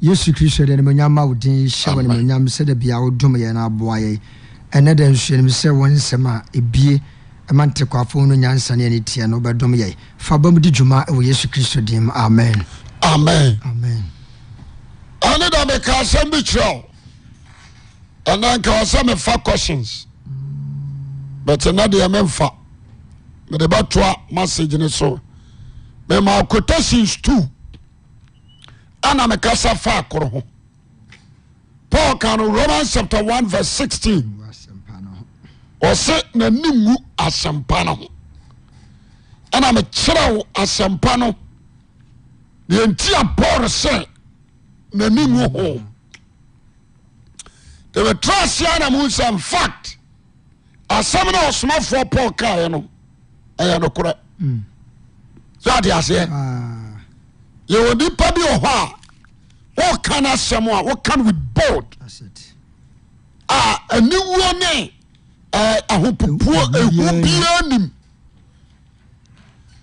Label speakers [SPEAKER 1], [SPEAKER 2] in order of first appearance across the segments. [SPEAKER 1] yesu kristo deɛ animonyam ma wo din hyɛ wo animonyam sɛdeɛ bia wodom yɛ no aboa yɛ ɛnɛ da nsuanim sɛ wo nsɛm a ɛbie ɛma ntekwafoɔ no nyansa ne ani teɛ no wobɛdom yɛ fa ba mu di dwuma ɛwɔ yesu kristo din mu amen
[SPEAKER 2] amen
[SPEAKER 1] amen
[SPEAKER 2] ɛne da meka asɛm bi kyerɛ wo ɛna nka wɔ sɛ mefa questions but na deɛ memfa mede bɛtoa message ne so mema quotations two ana mekasa fa koro ho paul ka no romans chapter 1 verse 16
[SPEAKER 1] Wo asɛm pa no ho.
[SPEAKER 2] ɔse n'ani ngu asɛmpa no ho ɛna mekyerɛ wo asɛmpa no deɛnti a paul sɛ n'ani ngu ho demetra aseɛ na mu sɛ mfact asɛm no a ɔsomafoɔ paul kaeɛ no ɛyɛ nokorɛ sɛ ade aseɛ
[SPEAKER 1] Ah,
[SPEAKER 2] yɛwɔ nipa bi wɔ hɔ a wɔka no asɛm a wɔka no with bold
[SPEAKER 1] that's it.
[SPEAKER 2] a aniwuo ne eh, ahopopuo
[SPEAKER 1] Ehu biara
[SPEAKER 2] ehu biara nim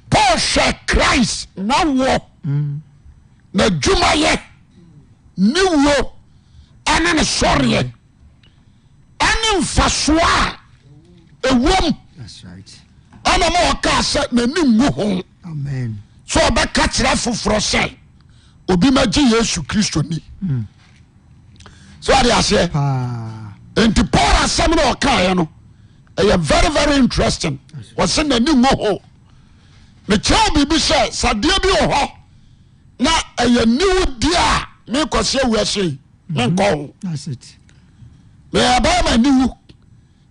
[SPEAKER 2] paul hwɛ christ n'awoɔ
[SPEAKER 1] Mm.
[SPEAKER 2] n'adwumayɛ ne wuo ɛne ne sɔreɛ ɛne mfasoɔ a ewom
[SPEAKER 1] that's right
[SPEAKER 2] ɛna ma ɔkaa sɛ n'ani ngu ho
[SPEAKER 1] amen
[SPEAKER 2] sɛ ɔbɛka kyerɛ foforɔ sɛ obi magye yesu kristo ni sɛ ɔde aseɛ
[SPEAKER 1] paa
[SPEAKER 2] nti paul asɛm no ɔkaeɛ no ɛyɛ very very interesting wɔse n'ani ngo ho mekyerɛ wo biribi sɛ sadeɛ bi wɔ hɔ na ɛyɛ niwo deɛ a menkɔseɛ wiase yi menkɔ ho
[SPEAKER 1] that's it
[SPEAKER 2] meyɛ bɛɛma niwu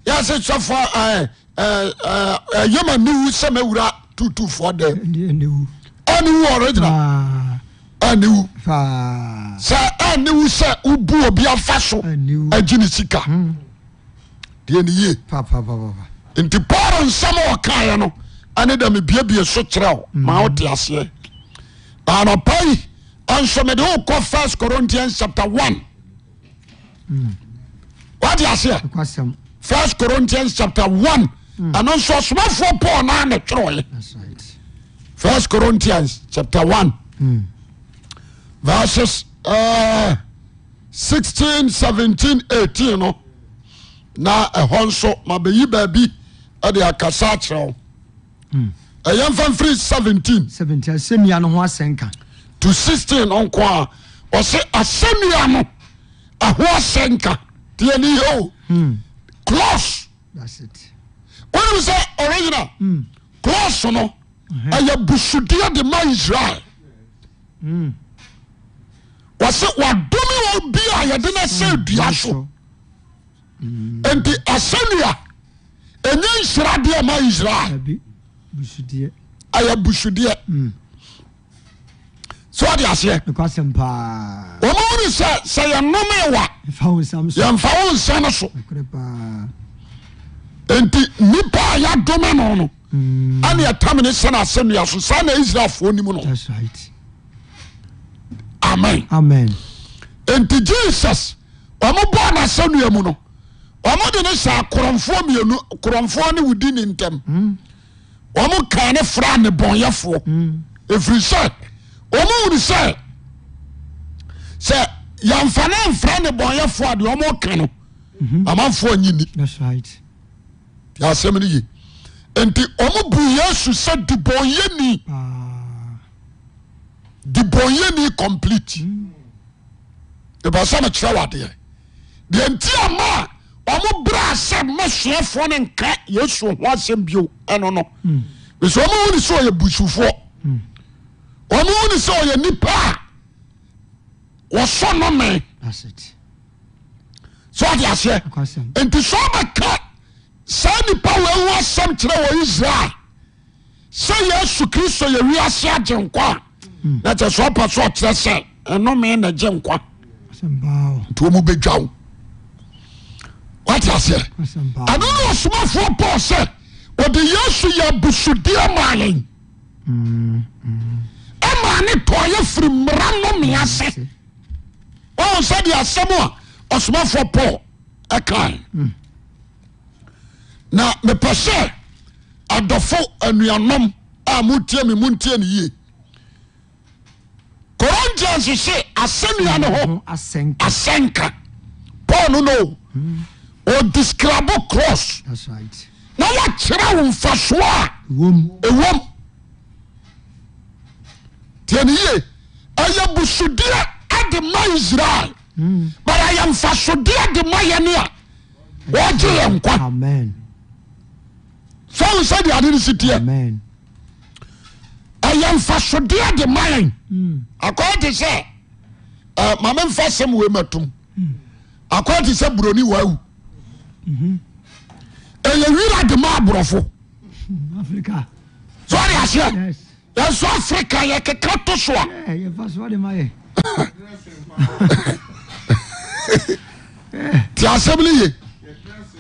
[SPEAKER 2] yɛse sɔfoɔ ɛyɛma niwu sɛ mawura tutufoɔ dɛ
[SPEAKER 1] ɛne ɛne wu
[SPEAKER 2] ɛne wu original
[SPEAKER 1] paa
[SPEAKER 2] ɛne wu
[SPEAKER 1] paa
[SPEAKER 2] sɛ ɛne wu sɛ wobu obi afa so
[SPEAKER 1] Ɛne wo.
[SPEAKER 2] agyi ne sika deɛ ne yie
[SPEAKER 1] papapapapa
[SPEAKER 2] nti paul nsɛm a ɔkaeɛ no ɛne da mebiabie so kyerɛ wo ma wote aseɛ anɔpa yi ɛnso mede wokɔ first corinthians chapter 1 wate aseɛ
[SPEAKER 1] kwasɛm
[SPEAKER 2] first corinthians chapter 1 ɛno nso ɔsomafoɔ paul naa ne twerɛeɛ
[SPEAKER 1] that's right
[SPEAKER 2] first corinthians chapter 1 verses uh, 16 17 18 no na ɛhɔ nso mabɛyi baabi ɛde akasa akyerɛ wo ɛyɛ mfa mfiri 17
[SPEAKER 1] seventy asɛnnua no ho asɛnka
[SPEAKER 2] to 16 ɔnko a ɔse asɛnnua no ɛho asɛ nka deɛ ne yɛ o
[SPEAKER 1] Hmm.
[SPEAKER 2] clos
[SPEAKER 1] that's it
[SPEAKER 2] wonim sɛ original clos no ɛyɛ busudeɛ de ma israel
[SPEAKER 1] Hmm.
[SPEAKER 2] wɔse wadome wɔ bi a yɛde no sɛ dua so enti asɛnnua ɛnyɛ nsiradeɛ ma israel
[SPEAKER 1] abi busudeɛ
[SPEAKER 2] ɛyɛ busudeɛ sɛ ɔde aseɛ
[SPEAKER 1] mekwasɛm paa
[SPEAKER 2] wɔma wone sɛ sɛ yɛnome wa
[SPEAKER 1] ɛfa wo nsam so
[SPEAKER 2] yɛmfa wo nsa no so
[SPEAKER 1] korɛ paa
[SPEAKER 2] enti nnipa a yɛadome no no
[SPEAKER 1] hmm,
[SPEAKER 2] ane ɛtam ne sɛ no asɛnnua so saa na israelfoɔ nim no
[SPEAKER 1] that's right
[SPEAKER 2] amen
[SPEAKER 1] amen
[SPEAKER 2] enti jesus ɔmobɔɔ n'asɛnnua mu no ɔmode ne saa korɔmfoɔ mmienu korɔmfoɔ ne wodi ne ntɛm ɔmo kaa ne fra ne bɔnyɛfoɔ ɛfiri sɛ ɔmo wuru sɛ sɛ yɛmfa ne mfra ne bɔnyɛfoɔ a deɛ ɔmo ka no amanfoɔ nyini
[SPEAKER 1] that's right
[SPEAKER 2] deɛ asɛm no ye enti ɔmo bu yesu sɛ dibɔnyɛni
[SPEAKER 1] paa
[SPEAKER 2] dibɔnyɛni complete ɛbɛ sɛ mekyerɛ wadeɛ deɛ nti ama a ɔmo berɛ a sɛ mɛsuafoɔ no nka yesu ho asɛm bio ɛno no
[SPEAKER 1] Hmm,
[SPEAKER 2] ɛsɛ ɔmo wone sɛ ɔyɛ busufoɔ ɔmo wone sɛ ɔyɛ nnipa a wɔsɔ nome
[SPEAKER 1] that's it
[SPEAKER 2] sɛ ɔde aseɛ
[SPEAKER 1] mekwasɛm
[SPEAKER 2] nti sɛ ɔbɛka saa nnipa wɔawu asɛm kyerɛ wɔ israel sɛ yesu kristo yɛ wiase agye nkwa a na kyɛ sɛ ɔpɛ sɛ ɔkyerɛ sɛ ɛnome na gye nkwa
[SPEAKER 1] kwasɛm paa o
[SPEAKER 2] nti ɔmu bɛdwa wo wate aseɛ
[SPEAKER 1] kwasɛm paa
[SPEAKER 2] ɛno ne ɔsomafoɔ paul sɛ ɔde yesu yɛ abusudeɛ maa yɛn
[SPEAKER 1] Hmm,
[SPEAKER 2] ɛma ne tɔɔyɛ firi mmara nome ase ɔhu sɛdeɛ asɛm a ɔsomafoɔ paul ɛkae na mepɛ sɛ adɔfo anuanom a motie me montie ne yie Corinthians corinthians hye asɛnnua no ho
[SPEAKER 1] ho asɛnka
[SPEAKER 2] asɛnka paul no no ɔdeskrabo cross
[SPEAKER 1] that's right
[SPEAKER 2] na wakyerɛ wo mfasoɔ a
[SPEAKER 1] wɔm
[SPEAKER 2] ɛwom tiɛne yie ɛyɛ busudeɛ ade ma é israel
[SPEAKER 1] Hmm.
[SPEAKER 2] but ɛyɛ mfasodeɛ é de ma yɛne a wɔgye yɛ nkwa
[SPEAKER 1] amen
[SPEAKER 2] fa wo sɛde ade no si teɛ
[SPEAKER 1] amen
[SPEAKER 2] ɛyɛ mfasodeɛ é de ma yɛn
[SPEAKER 1] Mm.
[SPEAKER 2] akɔyɛ te sɛ eh, ma memfa sɛm wei matom akɔyɛ te sɛ buroni waawu ɛyɛ wira de ma aborɔfo
[SPEAKER 1] africa
[SPEAKER 2] sɛ ɔde aseɛ
[SPEAKER 1] yes
[SPEAKER 2] yɛnso afrika yɛkeka to so a
[SPEAKER 1] Eh, yɛfa so ade ma yɛ
[SPEAKER 2] ti asɛm no ye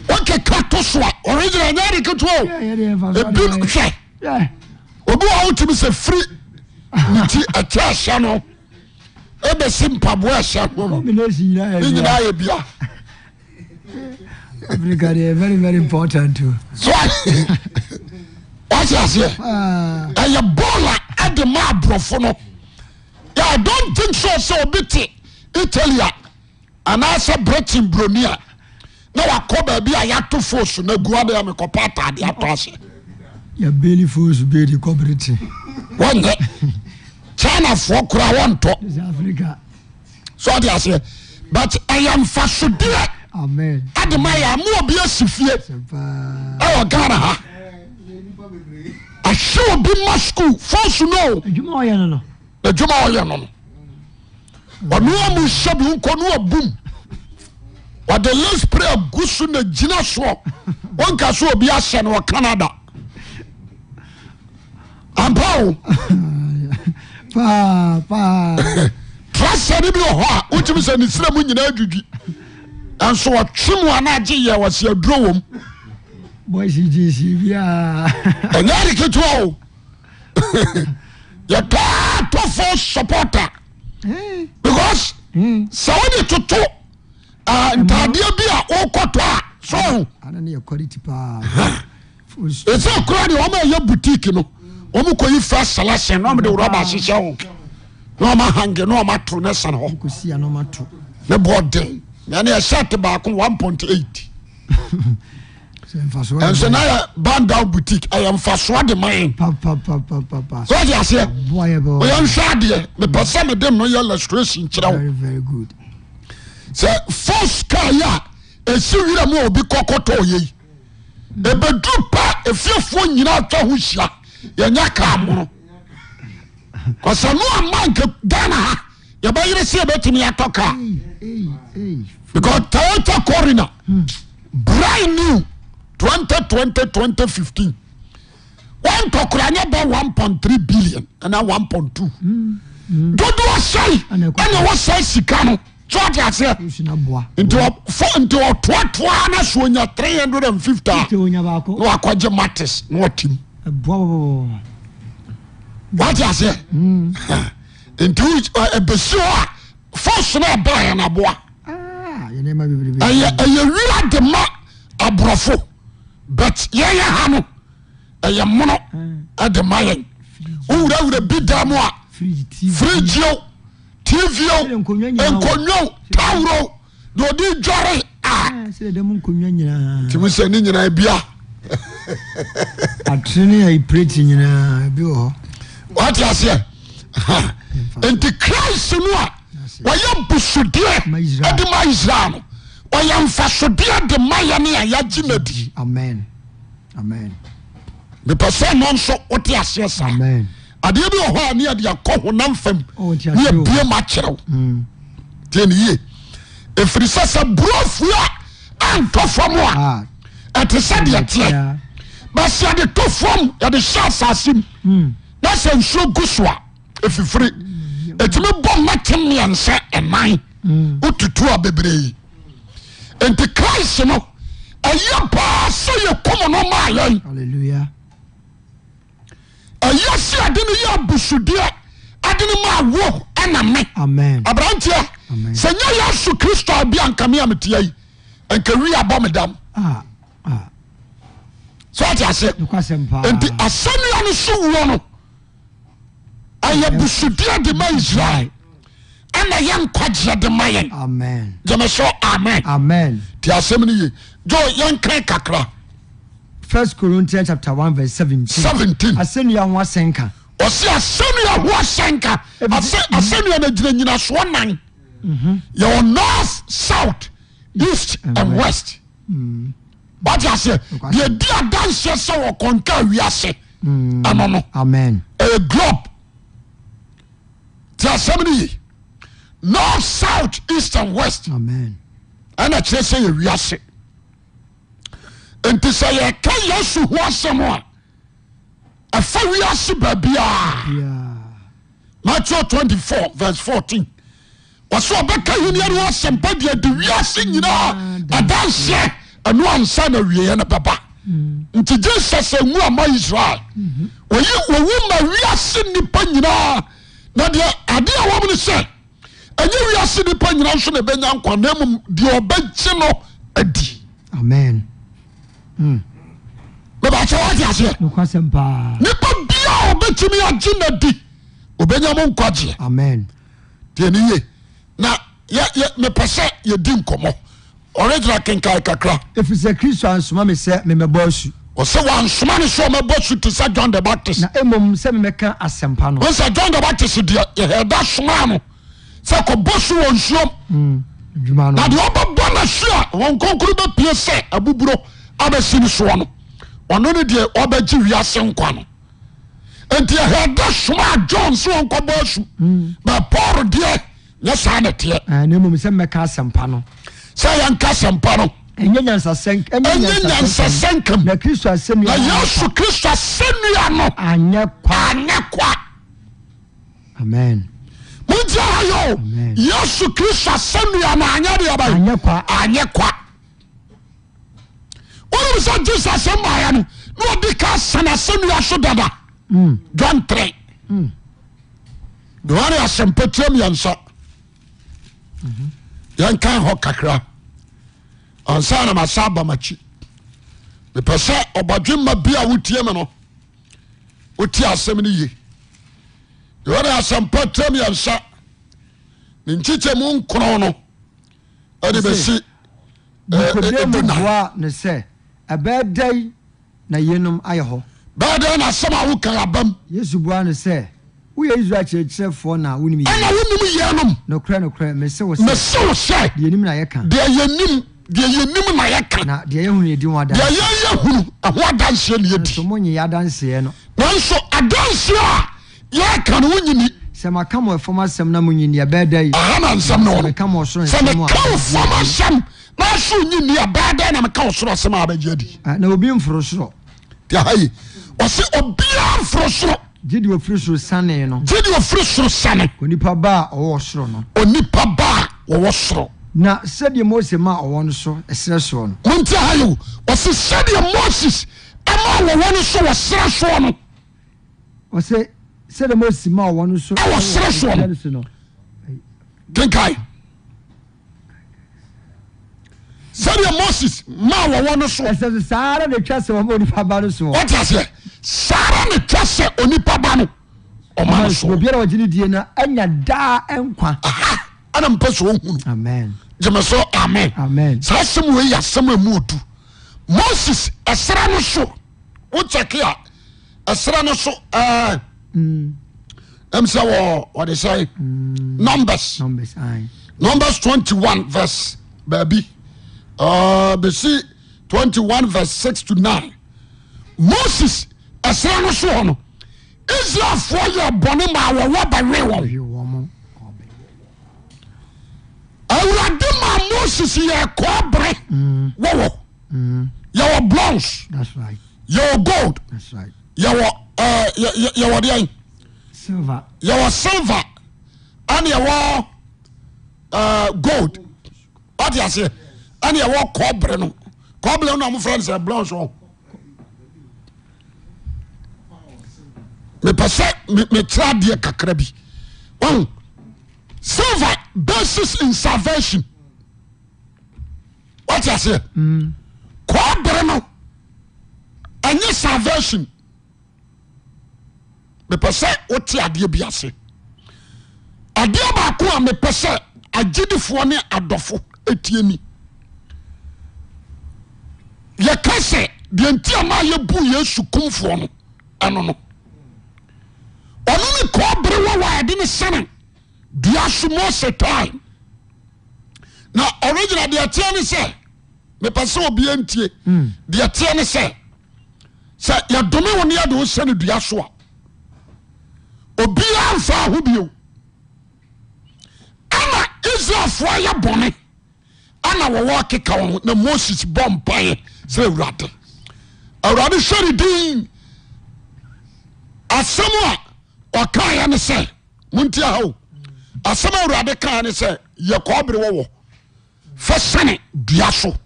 [SPEAKER 2] wokeka to so a original nyɛ de ketewa
[SPEAKER 1] Eh, yɛde yɛfa
[SPEAKER 2] o
[SPEAKER 1] so ade ma
[SPEAKER 2] ebi hwɛ
[SPEAKER 1] yɛ
[SPEAKER 2] obi wɔ a wotumi sɛ firi ne ti ɛkyɛ ɛhyɛ no ɛbɛsi mpaboa ɛhyɛ no no
[SPEAKER 1] combination nyinaa
[SPEAKER 2] ne
[SPEAKER 1] yɛ
[SPEAKER 2] nyinaa yɛ bia
[SPEAKER 1] bi. uh, africa deɛ very very important too
[SPEAKER 2] so a- wate aseɛ
[SPEAKER 1] Ah,
[SPEAKER 2] ɛyɛ bɔɔl a ɛde ma aborɔfo no yɛ i don't think so sɛ obi te italy a anaasɛ britain buroni a na wakɔ baabi a yɛato foos no agu ade a mekɔpa ataade ato aseɛ
[SPEAKER 1] yɛ beli foosu beli kɔbiriti
[SPEAKER 2] wɔnyɛ chinafoɔ kora wɔntɔ
[SPEAKER 1] ɛsɛ africa
[SPEAKER 2] so ɔde aseɛ but ɛyɛ mfasodeɛ
[SPEAKER 1] amen
[SPEAKER 2] ade ma yɛ amoa bi asi fie
[SPEAKER 1] sɛ paa
[SPEAKER 2] ɛwɔ ghana ha ahye obi ma school fɔsu no
[SPEAKER 1] adwuma a ɔyɛ no no
[SPEAKER 2] na adwuma a ɔyɛ no no ɔno a mu hyɛ bi nkɔ no abum ɔde les pray agu so na gyina soɔ wɔnka so obi ahyɛ no wɔ canada ampa o
[SPEAKER 1] paa paa
[SPEAKER 2] trasa no bi wɔ hɔ a wotumi sɛ ne sira mu nyinaa adwudwi nanso wɔtwe mu ana agye yɛ wɔse aduro wɔ m
[SPEAKER 1] bɔsi gyesi ah. biaa
[SPEAKER 2] ɛnyɛ de ketewa o yɛtɔatɔfo supporter because sɛ wode toto ah, ntadeɛ bi a wokɔtɔ a so
[SPEAKER 1] ana ne yɛ quality paa foosu
[SPEAKER 2] ɛsɛ kora deɛ ɔma ɛyɛ boutique no ɔm kɔyi fa selection na ɔmde rɔba hyehyɛ ho na ɔma hange na ɔma to ne sane hɔ
[SPEAKER 1] kosi a na ɔma to
[SPEAKER 2] ne boɔ den ɛne ɛhyɛ te baako 1.8
[SPEAKER 1] sɛ mfasoɔ
[SPEAKER 2] ɛnso
[SPEAKER 1] yɛ
[SPEAKER 2] na yɛ bandown boutique ɛyɛ mfasoɔ de ma yɛn
[SPEAKER 1] papapapapapa
[SPEAKER 2] sɛ ɔde aseɛ
[SPEAKER 1] boa yɛ
[SPEAKER 2] ɔyɛ
[SPEAKER 1] bɛ
[SPEAKER 2] nhwɛ adeɛ mepɛ sɛ mede m no yɛ illustration kyerɛ wo
[SPEAKER 1] very very good
[SPEAKER 2] sɛ fos car yi a ɛsi wira mu a obi kɔkɔtɔ yei ɛbɛduru pa ɛfiefoɔ nyinaa atwa ho hyia yɛnyɛ kaa mono ɔsɛ no ama nka ghana ha yɛbɛyere sɛ yɛbɛtumi atɔ kaa
[SPEAKER 1] Ei, ei, ei.
[SPEAKER 2] because toyota corina brand new 2020-2015 wɔntɔkora nyɛ bɛ 1.3 billion ana 1.2 dodoɔ sɛe
[SPEAKER 1] Ɛna ɛkɔ-
[SPEAKER 2] ɛne wɔsɛe sika no so ate aseɛ
[SPEAKER 1] Foosu na boa
[SPEAKER 2] nti ɔ- fo- nti ɔtoatoa na so onya 350 a
[SPEAKER 1] te onya baako
[SPEAKER 2] na wakɔgye mates na ɔtim
[SPEAKER 1] ɛboa bɔbɔbɔ
[SPEAKER 2] wate aseɛ nti wo- ɛ- ɛbɛsi hɔ a fos no ɛbaɛ naboa
[SPEAKER 1] yɛ nneɛma bebrebe
[SPEAKER 2] ɛyɛ ɛyɛ wira de ma aborɔfo but yɛyɛ ha no ɛyɛ mono ɛde ma yɛn wowurawura bi da mu a
[SPEAKER 1] fridge tv
[SPEAKER 2] frigyio tvio
[SPEAKER 1] nkonnwa nyinaa
[SPEAKER 2] nkonwom taworo na ɔde dware a
[SPEAKER 1] Ah, sɛ dɛm nkonnwa nyinaa
[SPEAKER 2] timi sɛ ne nyinaa bia
[SPEAKER 1] atere ne a ipreti nyinaa bi wɔ hɔ
[SPEAKER 2] wate aseɛ Ha. enti christ no a wɔyɛ
[SPEAKER 1] Ma
[SPEAKER 2] busodeɛ
[SPEAKER 1] Israel.
[SPEAKER 2] ɛde ma israel no ɔyɛ mfasodeɛ de ma yɛne a yɛagye no adi
[SPEAKER 1] amen amen
[SPEAKER 2] mepɛ sɛ no nso wote aseɛ saa
[SPEAKER 1] amen
[SPEAKER 2] adeɛ bi wɔ hɔ a ne yɛde akɔ honam fam
[SPEAKER 1] Oh, nti
[SPEAKER 2] ne
[SPEAKER 1] akyerɛ wo.
[SPEAKER 2] yɛbue ma kyerɛ wo
[SPEAKER 1] Mm.
[SPEAKER 2] tie ne yie ɛfiri sɛ sɛ burofuo a antɔ fam a
[SPEAKER 1] ah
[SPEAKER 2] ɛte sɛ deɛ teɛ
[SPEAKER 1] yeah.
[SPEAKER 2] ba sɛ yɛde to fam yɛde hyɛ asase
[SPEAKER 1] Hmm.
[SPEAKER 2] mu na sɛ nsuo gu so a ɛfifiri ɛtumi bɔ mmɛte mmiɛnsa ɛman
[SPEAKER 1] Hmm.
[SPEAKER 2] wotutu a bebree enti christ no ɛyɛ paa sɛ yɛkom no maa yɛn
[SPEAKER 1] hallelujah
[SPEAKER 2] ɛyɛ sɛ ade no yɛ abusudeɛ ade no ma awo ɛna me
[SPEAKER 1] amen
[SPEAKER 2] aberanteɛ
[SPEAKER 1] Amen.
[SPEAKER 2] sɛ nyɛ yesu kristo a bi ankame a metea yi anka wi abɔ me dam
[SPEAKER 1] ah ah
[SPEAKER 2] so ate aseɛ
[SPEAKER 1] nokwasɛm paa
[SPEAKER 2] enti asɛnnua no so wuo no ɛyɛ busudeɛ de ma israel ɛna yɛ nkwagyeɛ de ma yɛn
[SPEAKER 1] amen
[SPEAKER 2] gyeme so amen
[SPEAKER 1] amen
[SPEAKER 2] nti asɛm no ye jo yɛnkan kakra
[SPEAKER 1] first corinthians chapter one verse seventeen
[SPEAKER 2] 17
[SPEAKER 1] asɛnnua ho asɛn ka
[SPEAKER 2] ɔse asɛnnua ho asɛnka
[SPEAKER 1] Ebi-
[SPEAKER 2] Asɛ- asɛnnua no gyina nyinasoɔ nan yɛwɔ north south east Mhm. and west wate aseɛ
[SPEAKER 1] Nokwasɛm.
[SPEAKER 2] deɛ di adanseɛ sɛ wɔkɔnka wiase
[SPEAKER 1] Mm.
[SPEAKER 2] ɛno no
[SPEAKER 1] amen
[SPEAKER 2] ɛyɛ glob nti asɛm no ye north south east and west
[SPEAKER 1] amen
[SPEAKER 2] ɛna kyerɛ sɛ yɛ wiase nti sɛ yɛka yesu ho asɛm a ɛfa wiase baabiaa
[SPEAKER 1] yeah
[SPEAKER 2] matthew twenty four verse fourteen wɔsɛ ɔbɛka hiniɛre wɔ asɛmpa deɛ de wiase nyinaa adanseɛ ɛno ansa na wieɛ no bɛba nti jesus angu ama israel wɔyi wɔwu ma wiase nnipa nyinaa na deɛ ade a wɔm no sɛ ɛnyɛ wiase nnipa nyinaa nso na ɛbɛnya nkwa na mmom deɛ ɔbɛgye no adi
[SPEAKER 1] amen
[SPEAKER 2] mebakyɛ wɔate aseɛ
[SPEAKER 1] nokwasɛm paa
[SPEAKER 2] nnipa bia a ɔbɛtumi agye no adi ɔbɛnya mo nkwagyeɛ
[SPEAKER 1] amen
[SPEAKER 2] deɛne ye na yɛ- yɛ- mepɛ sɛ yɛdi nkɔmmɔ original kenkae kakra
[SPEAKER 1] ɛfiri sɛ kristo ansoma me sɛ memɛbɔ asu
[SPEAKER 2] ɔsɛ wansoma ne sɛ ɔmɛbɔ su te sɛ john the baptist
[SPEAKER 1] na mmom sɛ memɛka asɛmpa no
[SPEAKER 2] wọn sɛ john the baptist deɛ yɛhɛda somaa no sɛ kɔbɔ su wɔ nsuom
[SPEAKER 1] dwuma Mm. no
[SPEAKER 2] na deɛ ɔbɛbɔ na su a wɔn kɔnkuru bɛpie sɛ abuburo abɛsi ne soɔ no ɔno ne deɛ ɔbɛgye wiase nkwa no nti yɛhɛda somaa john sɛ wɔnkɔbɔ su bɛ paul deɛ nyɛ saa ne teɛ
[SPEAKER 1] Ah, na mmom sɛ memɛka asɛmpa no
[SPEAKER 2] sɛ yɛnka sɛmpa no
[SPEAKER 1] ɛnyɛ nyansasɛm
[SPEAKER 2] ɛnyɛ nyansasɛ nkam
[SPEAKER 1] na kristo asɛm
[SPEAKER 2] na yesu kristo asɛnnua no
[SPEAKER 1] anyɛ kwa
[SPEAKER 2] anyɛ kwa
[SPEAKER 1] amen
[SPEAKER 2] mogya ha yɛ
[SPEAKER 1] Amen.
[SPEAKER 2] yesu kristo asɛnnua no anyɛ deɛ ba
[SPEAKER 1] anyɛ kwa
[SPEAKER 2] anyɛ kwa wonem sɛ jesus mmaeɛ no na ɔde ka sane asɛnnua so dada john 3 yohane asɛmpa tiram yɛnsa yɛnkan hɔ kakra ansa na masa aba makyi mepɛ sɛ ɔbadwe ma bi a wotie me no wotie asɛm no ye yohane asɛmpa tiram yɛnsa ne nkyikyɛ mu nkono no ɛde bɛsi eh, eh,
[SPEAKER 1] nikodemo
[SPEAKER 2] dunan.
[SPEAKER 1] boa ne sɛ ɛbɛyɛ dɛn na yenom ayɛ hɔ
[SPEAKER 2] bɛɛdɛn na asɛm a wokan abam
[SPEAKER 1] yesu boa no sɛ woyɛ israel kyerɛkyerɛfoɔ na wonim
[SPEAKER 2] ɛna
[SPEAKER 1] yi
[SPEAKER 2] wonim yɛnom
[SPEAKER 1] nokorɛ nokorɛ mese wo sɛ
[SPEAKER 2] mesew sɛ
[SPEAKER 1] deɛ nim na yɛka
[SPEAKER 2] deɛ yɛnim deɛ yɛnim na yɛka
[SPEAKER 1] na deɛ yɛhunu yɛdi ho
[SPEAKER 2] deɛ
[SPEAKER 1] adanse
[SPEAKER 2] yɛyɛ hunu ɛho adanseɛ ne
[SPEAKER 1] so
[SPEAKER 2] yɛdi
[SPEAKER 1] monye yɛ adanseɛ no
[SPEAKER 2] nanso adanseɛ a yɛka no wonyini
[SPEAKER 1] sɛ maka mo ɛfam asɛm na monyini ɛbɛyɛ dɛn
[SPEAKER 2] aha na nsɛm ne
[SPEAKER 1] sɛ
[SPEAKER 2] wɔ
[SPEAKER 1] meka
[SPEAKER 2] Ah, no
[SPEAKER 1] mo ɔsoro
[SPEAKER 2] sɛ
[SPEAKER 1] nsɛm
[SPEAKER 2] meka wo
[SPEAKER 1] a
[SPEAKER 2] fam asɛm na so nyini a bɛɛdɛn na meka wo soro asɛm a bɛgye adi
[SPEAKER 1] Ah, na obi mforo soro
[SPEAKER 2] nti aha yi ɔse obiaa mforo soro
[SPEAKER 1] gye de ofiri soro sane no
[SPEAKER 2] gye de ɔfiri soro sane
[SPEAKER 1] onipa ba a ɔwɔ ɔsoro no
[SPEAKER 2] onipa ba a wɔwɔ soro
[SPEAKER 1] na sɛdeɛ mose ma ɔwɔ no so ɛserɛ soɔ no
[SPEAKER 2] monti aha yi o ɔse sɛdeɛ moses ɛma wɔwɔ no so wɔ serɛ soɔ no
[SPEAKER 1] ɔsɛ sɛdeɛ mose ma ɔwɔ no so
[SPEAKER 2] Ɛwɔ serɛ soɔ no.
[SPEAKER 1] ɛserɛ so no
[SPEAKER 2] kenkae sɛdeɛ moses ma wɔwɔ no so
[SPEAKER 1] ɛsɛ so saa ara na atwa sɛ wɔma onipa ba no so wɔ
[SPEAKER 2] wɔte aseɛ saa ara ne twa sɛ onipa ba no ɔma no so
[SPEAKER 1] obiara a wɔgye no die no ɛnya daa ɛnkwa
[SPEAKER 2] aha ana mpɛ sɛ ɔhunu
[SPEAKER 1] amen
[SPEAKER 2] gyeme so amen
[SPEAKER 1] amen
[SPEAKER 2] saa asɛm wei yɛ asɛm a mu ɔdu moses ɛsra no so wokyɛke a ɛsra no so eh. ɛɛ, ɛm sɛ wɔ wɔde sɛ numbers
[SPEAKER 1] numbers ae
[SPEAKER 2] numbers 21 verse baabi uh, bɛsi 21 verse 6 to 9 moses ɛserɛ no so hɔ no israelfoɔ yɛ bɔne ma wɔwɔ bɛwe wɔn
[SPEAKER 1] ɔhwe wɔ mo
[SPEAKER 2] awurade ma moses yɛ kɔɔbere wɔwɔ yɛwɔ bronze
[SPEAKER 1] that's right
[SPEAKER 2] yɛwɔ gold
[SPEAKER 1] that's right
[SPEAKER 2] yɛwɔ eh, yɛ- yɛ- yɛwɔ deɛn
[SPEAKER 1] silver
[SPEAKER 2] yɛwɔ silver ɛne yɛwɔ eh, gold ɔte aseɛ ɛne yɛwɔ kɔbere no kɔbere no a mofrɛ no sɛ blanche wɔ mepɛ sɛ me- mekyerɛ adeɛ kakra bi Ɔhu, silver basis in salvation ɔte aseɛ kɔbere no ɛnyɛ salvation mepɛ sɛ wote adeɛ bi ase adeɛ baako a mepɛ sɛ agyidifoɔ ne adɔfo ɛtie ni yɛka sɛ deɛ nti a ma yɛbu yesu kumfoɔ no ɛno no ɔno ne kɔɔ bere wɔ wɔ a yɛde ne sɛne dua so mose time na ɔregyina deɛ teɛ ne sɛ mepɛ sɛ obia ntie deɛ teɛ ne sɛ sɛ yɛdome wo ne yɛde wo sɛne dua so a obiaa mfa ho bio ama israelfoɔ yɛ bɔne ana wɔwɔ keka wɔn ho na moses bɔ mpaeɛ sɛ awurade awurade hwɛ ne din asɛm a ɔkaeɛ ne sɛ montia ha o asɛm a awurade kaeɛ ne sɛ yɛ kɔɔbere wɔwɔ fa sɛne dua so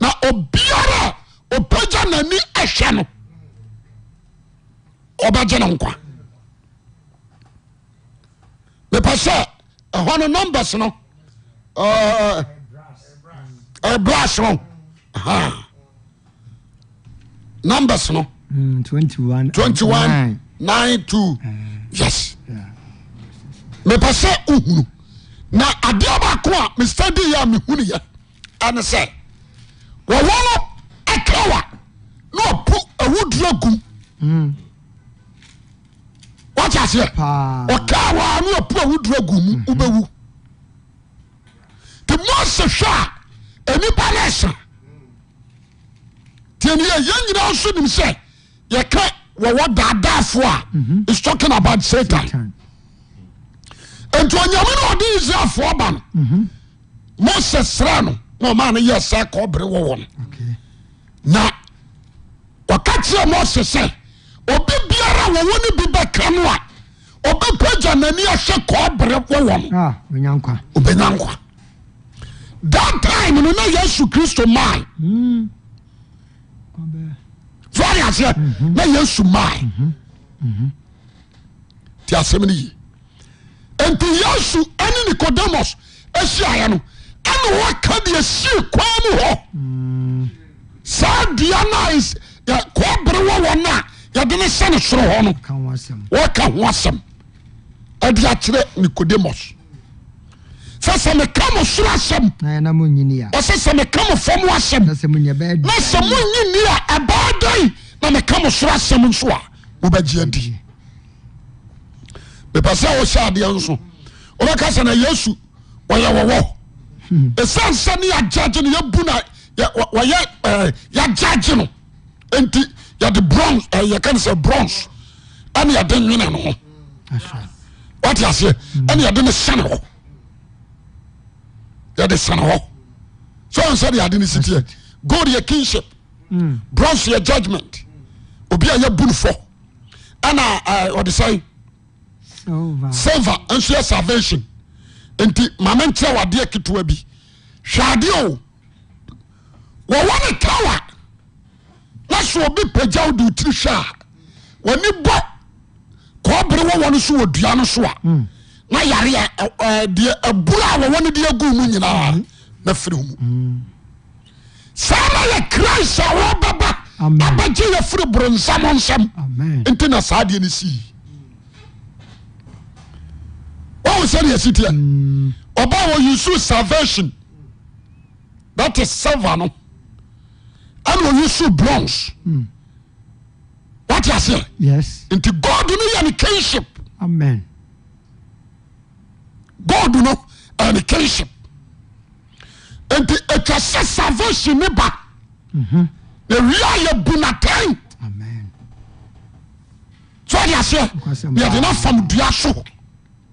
[SPEAKER 2] na obiara a ɔpagya n'ani ahwɛ no ɔbɛgye ne nkwa mepɛ sɛ ɛhɔ no numbers no ɛɛ, ɛbrass eh, no aha. numbers no
[SPEAKER 1] Mm, 21
[SPEAKER 2] twenty one nine two yes mepɛ sɛ ohunu na adeɛ baako a mr d yɛ a mehunu yɛ ɛne sɛ wɔwɔ no ɛkawa na ɔpo awuduro gum
[SPEAKER 1] Hmm,
[SPEAKER 2] wate aseɛ
[SPEAKER 1] paa
[SPEAKER 2] ɔkaa waa ne ɔpo awuduro gu mu wobɛwu nti mose hwɛ a anipa no ɛsa tiɛneyɛ yɛn nyinaa nso nim sɛ yɛka wɔwɔ daadaafoɔ a is talking about satan
[SPEAKER 1] Tan.
[SPEAKER 2] nti onyame no a ɔde israelfoɔ ba no mose srɛ no na ɔma no yɛ sɛ kɔbere wɔwɔ no
[SPEAKER 1] Okay.
[SPEAKER 2] na ɔka kyerɛ mose sɛ obi biara a wɔwɔ no bi bɛka no a ɔbɛpagya n'ani ahwɛ kɔbere wɔwɔ no
[SPEAKER 1] ah wonya nkwa
[SPEAKER 2] obɛnya nkwa that time no na yesu kristo mae
[SPEAKER 1] Mm. Ɔbɛ-
[SPEAKER 2] fɔre aseɛ na yesu mae nti asɛm no yi enti yesu ɛne nicodemus ahyiaeɛ no ɛne wɔka deɛ sii kwan mu hɔ saa dua no a ɛs- yɛ- kɔbere wɔ wɔ no a yɛde ne sɛne soro hɔ no
[SPEAKER 1] ka ho asɛm
[SPEAKER 2] wɔka ho asɛm ɛde akyerɛ nicodemus sɛ sɛ meka mo soro asɛm
[SPEAKER 1] na yɛna mo nyini a
[SPEAKER 2] ɔsɛ sɛ meka mo fam asɛm
[SPEAKER 1] na sɛ monyɛ bɛyɛ
[SPEAKER 2] na sɛ monye ni a ɛbaa dan na meka mo soro asɛm nso a wobɛgye adi mepɛ sɛ wohyɛ adeɛ nso wobɛka sɛ na yesu ɔyɛ wɔwɔ ɛsiane sɛ ne yɛagyagye no yɛbu na yɛ- wɔ- wɔyɛ eh, yɛagyagye no enti yɛde bronze eh, yɛka no sɛ bronze ɛne yɛde nwene no ho
[SPEAKER 1] asɔ
[SPEAKER 2] wate aseɛ ɛne yɛde no sɛne hɔ yɛde sɛne hɔ sɛ ɔn sɛ de yɛade no sitiɛ gold yɛ kinship
[SPEAKER 1] Mm.
[SPEAKER 2] bronze yɛ judgment obi a yɛbu no fɔ ɛna eh, ɔde sɛe
[SPEAKER 1] silver
[SPEAKER 2] silver nso yɛ salvation nti maame nkyerɛ wadeɛ ketewa bi hwɛ adeɛ o wɔwɔ ne kawa na so obi pagya wo de wotiri hwɛ a wɔne bɔ kɔɔbere wɔwɔ no so wɔ dua no so a na yare a, ɛ- ɛ, deɛ abura a wɔwɔ no de agu mu nyinaa na firi wo mu saa na yɛ christ a wɔbɛba
[SPEAKER 1] Amen.
[SPEAKER 2] abɛgye yɛ firi boronsam nsɛm
[SPEAKER 1] amen
[SPEAKER 2] nti na saa deɛ no sii wawo sɛdeɛ siteɛ ɔba wɔ yusu salvation that is silver no ɛne ɔyusu bronze wate aseɛ
[SPEAKER 1] yes
[SPEAKER 2] nti god no yɛ ne kinship
[SPEAKER 1] amen
[SPEAKER 2] god no ɛyɛ ne kinship nti atwa sɛ salvation ne ba na wie a yɛbu natan
[SPEAKER 1] Mm-hmm. amen
[SPEAKER 2] so ɔde
[SPEAKER 1] Nkwasɛm
[SPEAKER 2] aseɛ
[SPEAKER 1] paa.
[SPEAKER 2] yɛde no fam dua so